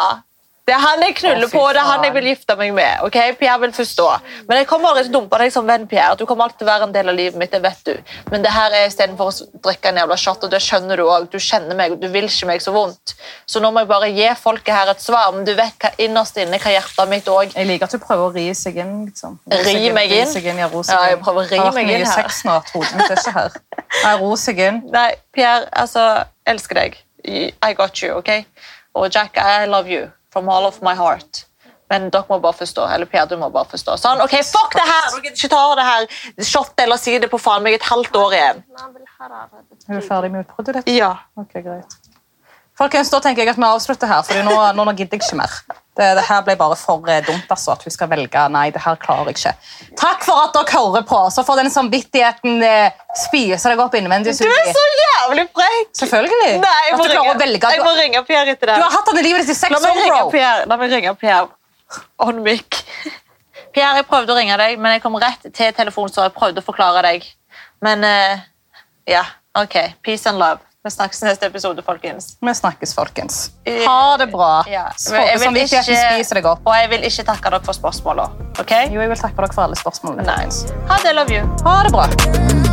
[SPEAKER 5] Det er han jeg knuller
[SPEAKER 1] Å, fy
[SPEAKER 5] på, det er han
[SPEAKER 1] faen.
[SPEAKER 5] jeg vil gifte meg med. ok? Pierre vil forstå. Men jeg kommer aldri til å dumpe deg som venn, Pierre. Du kommer alltid til å være en del av livet mitt, det vet du. Men det her er istedenfor å drikke en jævla shot, og det skjønner du òg. Du kjenner meg, og du vil ikke meg så vondt. Så nå må jeg bare gi folket her et svar, men du vet hva innerst inne hva hjertet mitt òg
[SPEAKER 1] Jeg liker at du prøver å ri seg inn. liksom.
[SPEAKER 5] Ri
[SPEAKER 1] seg
[SPEAKER 5] meg
[SPEAKER 1] ri
[SPEAKER 5] inn?
[SPEAKER 1] Seg inn ja, ro seg
[SPEAKER 5] Ja, jeg
[SPEAKER 1] inn.
[SPEAKER 5] prøver å ri
[SPEAKER 1] Det har vært
[SPEAKER 5] meg inn
[SPEAKER 1] mye
[SPEAKER 5] her.
[SPEAKER 1] sex nå, at hodet mitt er ikke her. Nei, ro seg inn.
[SPEAKER 5] Nei, Pierre, altså, elsker deg. I got you, ok? Og Jack, I love you from all of my heart. Men dere må bare forstå. Eller Per, du må bare forstå. Sånn, ok, fuck det her! Dere ikke tar det her shot eller si det på faen meg et halvt år igjen.
[SPEAKER 7] نعم بالحرارة
[SPEAKER 1] Er du ferdig med utbruddet ditt?
[SPEAKER 5] Ja.
[SPEAKER 1] Ok, greit. Folkens, da tenker jeg at vi avslutter her, for nå, nå, nå gidder jeg ikke mer. Det, det her ble bare for eh, dumt, altså, at hun skal velge. Nei, det her klarer jeg ikke. Takk for at dere hører på, så får den samvittigheten eh, spise deg opp innvendig.
[SPEAKER 5] Du er
[SPEAKER 1] Sylvi.
[SPEAKER 5] så jævlig frekk!
[SPEAKER 1] Selvfølgelig.
[SPEAKER 5] Nei, jeg må,
[SPEAKER 1] at du klarer å velge.
[SPEAKER 5] ringe. jeg
[SPEAKER 1] Du,
[SPEAKER 5] må ringe Per etter det.
[SPEAKER 1] du har hatt han i livet ditt i
[SPEAKER 5] La
[SPEAKER 1] seks
[SPEAKER 5] meg
[SPEAKER 1] år,
[SPEAKER 5] ringe
[SPEAKER 1] bro.
[SPEAKER 5] Per. La meg ringe Per. On mic. Per, jeg prøvde å ringe deg, men jeg kom rett til telefonen, så jeg prøvde å forklare deg. Men eh, ja, ok. Peace and love. Vi snakkes neste episode, folkens.
[SPEAKER 1] Vi snakkes, folkens.
[SPEAKER 5] Eh,
[SPEAKER 1] Ha det bra. Sånn
[SPEAKER 5] Ja.
[SPEAKER 1] Så
[SPEAKER 5] Men jeg vil
[SPEAKER 1] samvittigheten
[SPEAKER 5] ikke-
[SPEAKER 1] spiser deg opp.
[SPEAKER 5] Og jeg vil ikke takke dere for spørsmålene. ok?
[SPEAKER 1] Jo, jeg vil takke dere for alle spørsmålene.
[SPEAKER 5] Nei.
[SPEAKER 1] folkens.
[SPEAKER 5] Ha det, love you.
[SPEAKER 1] Ha det bra.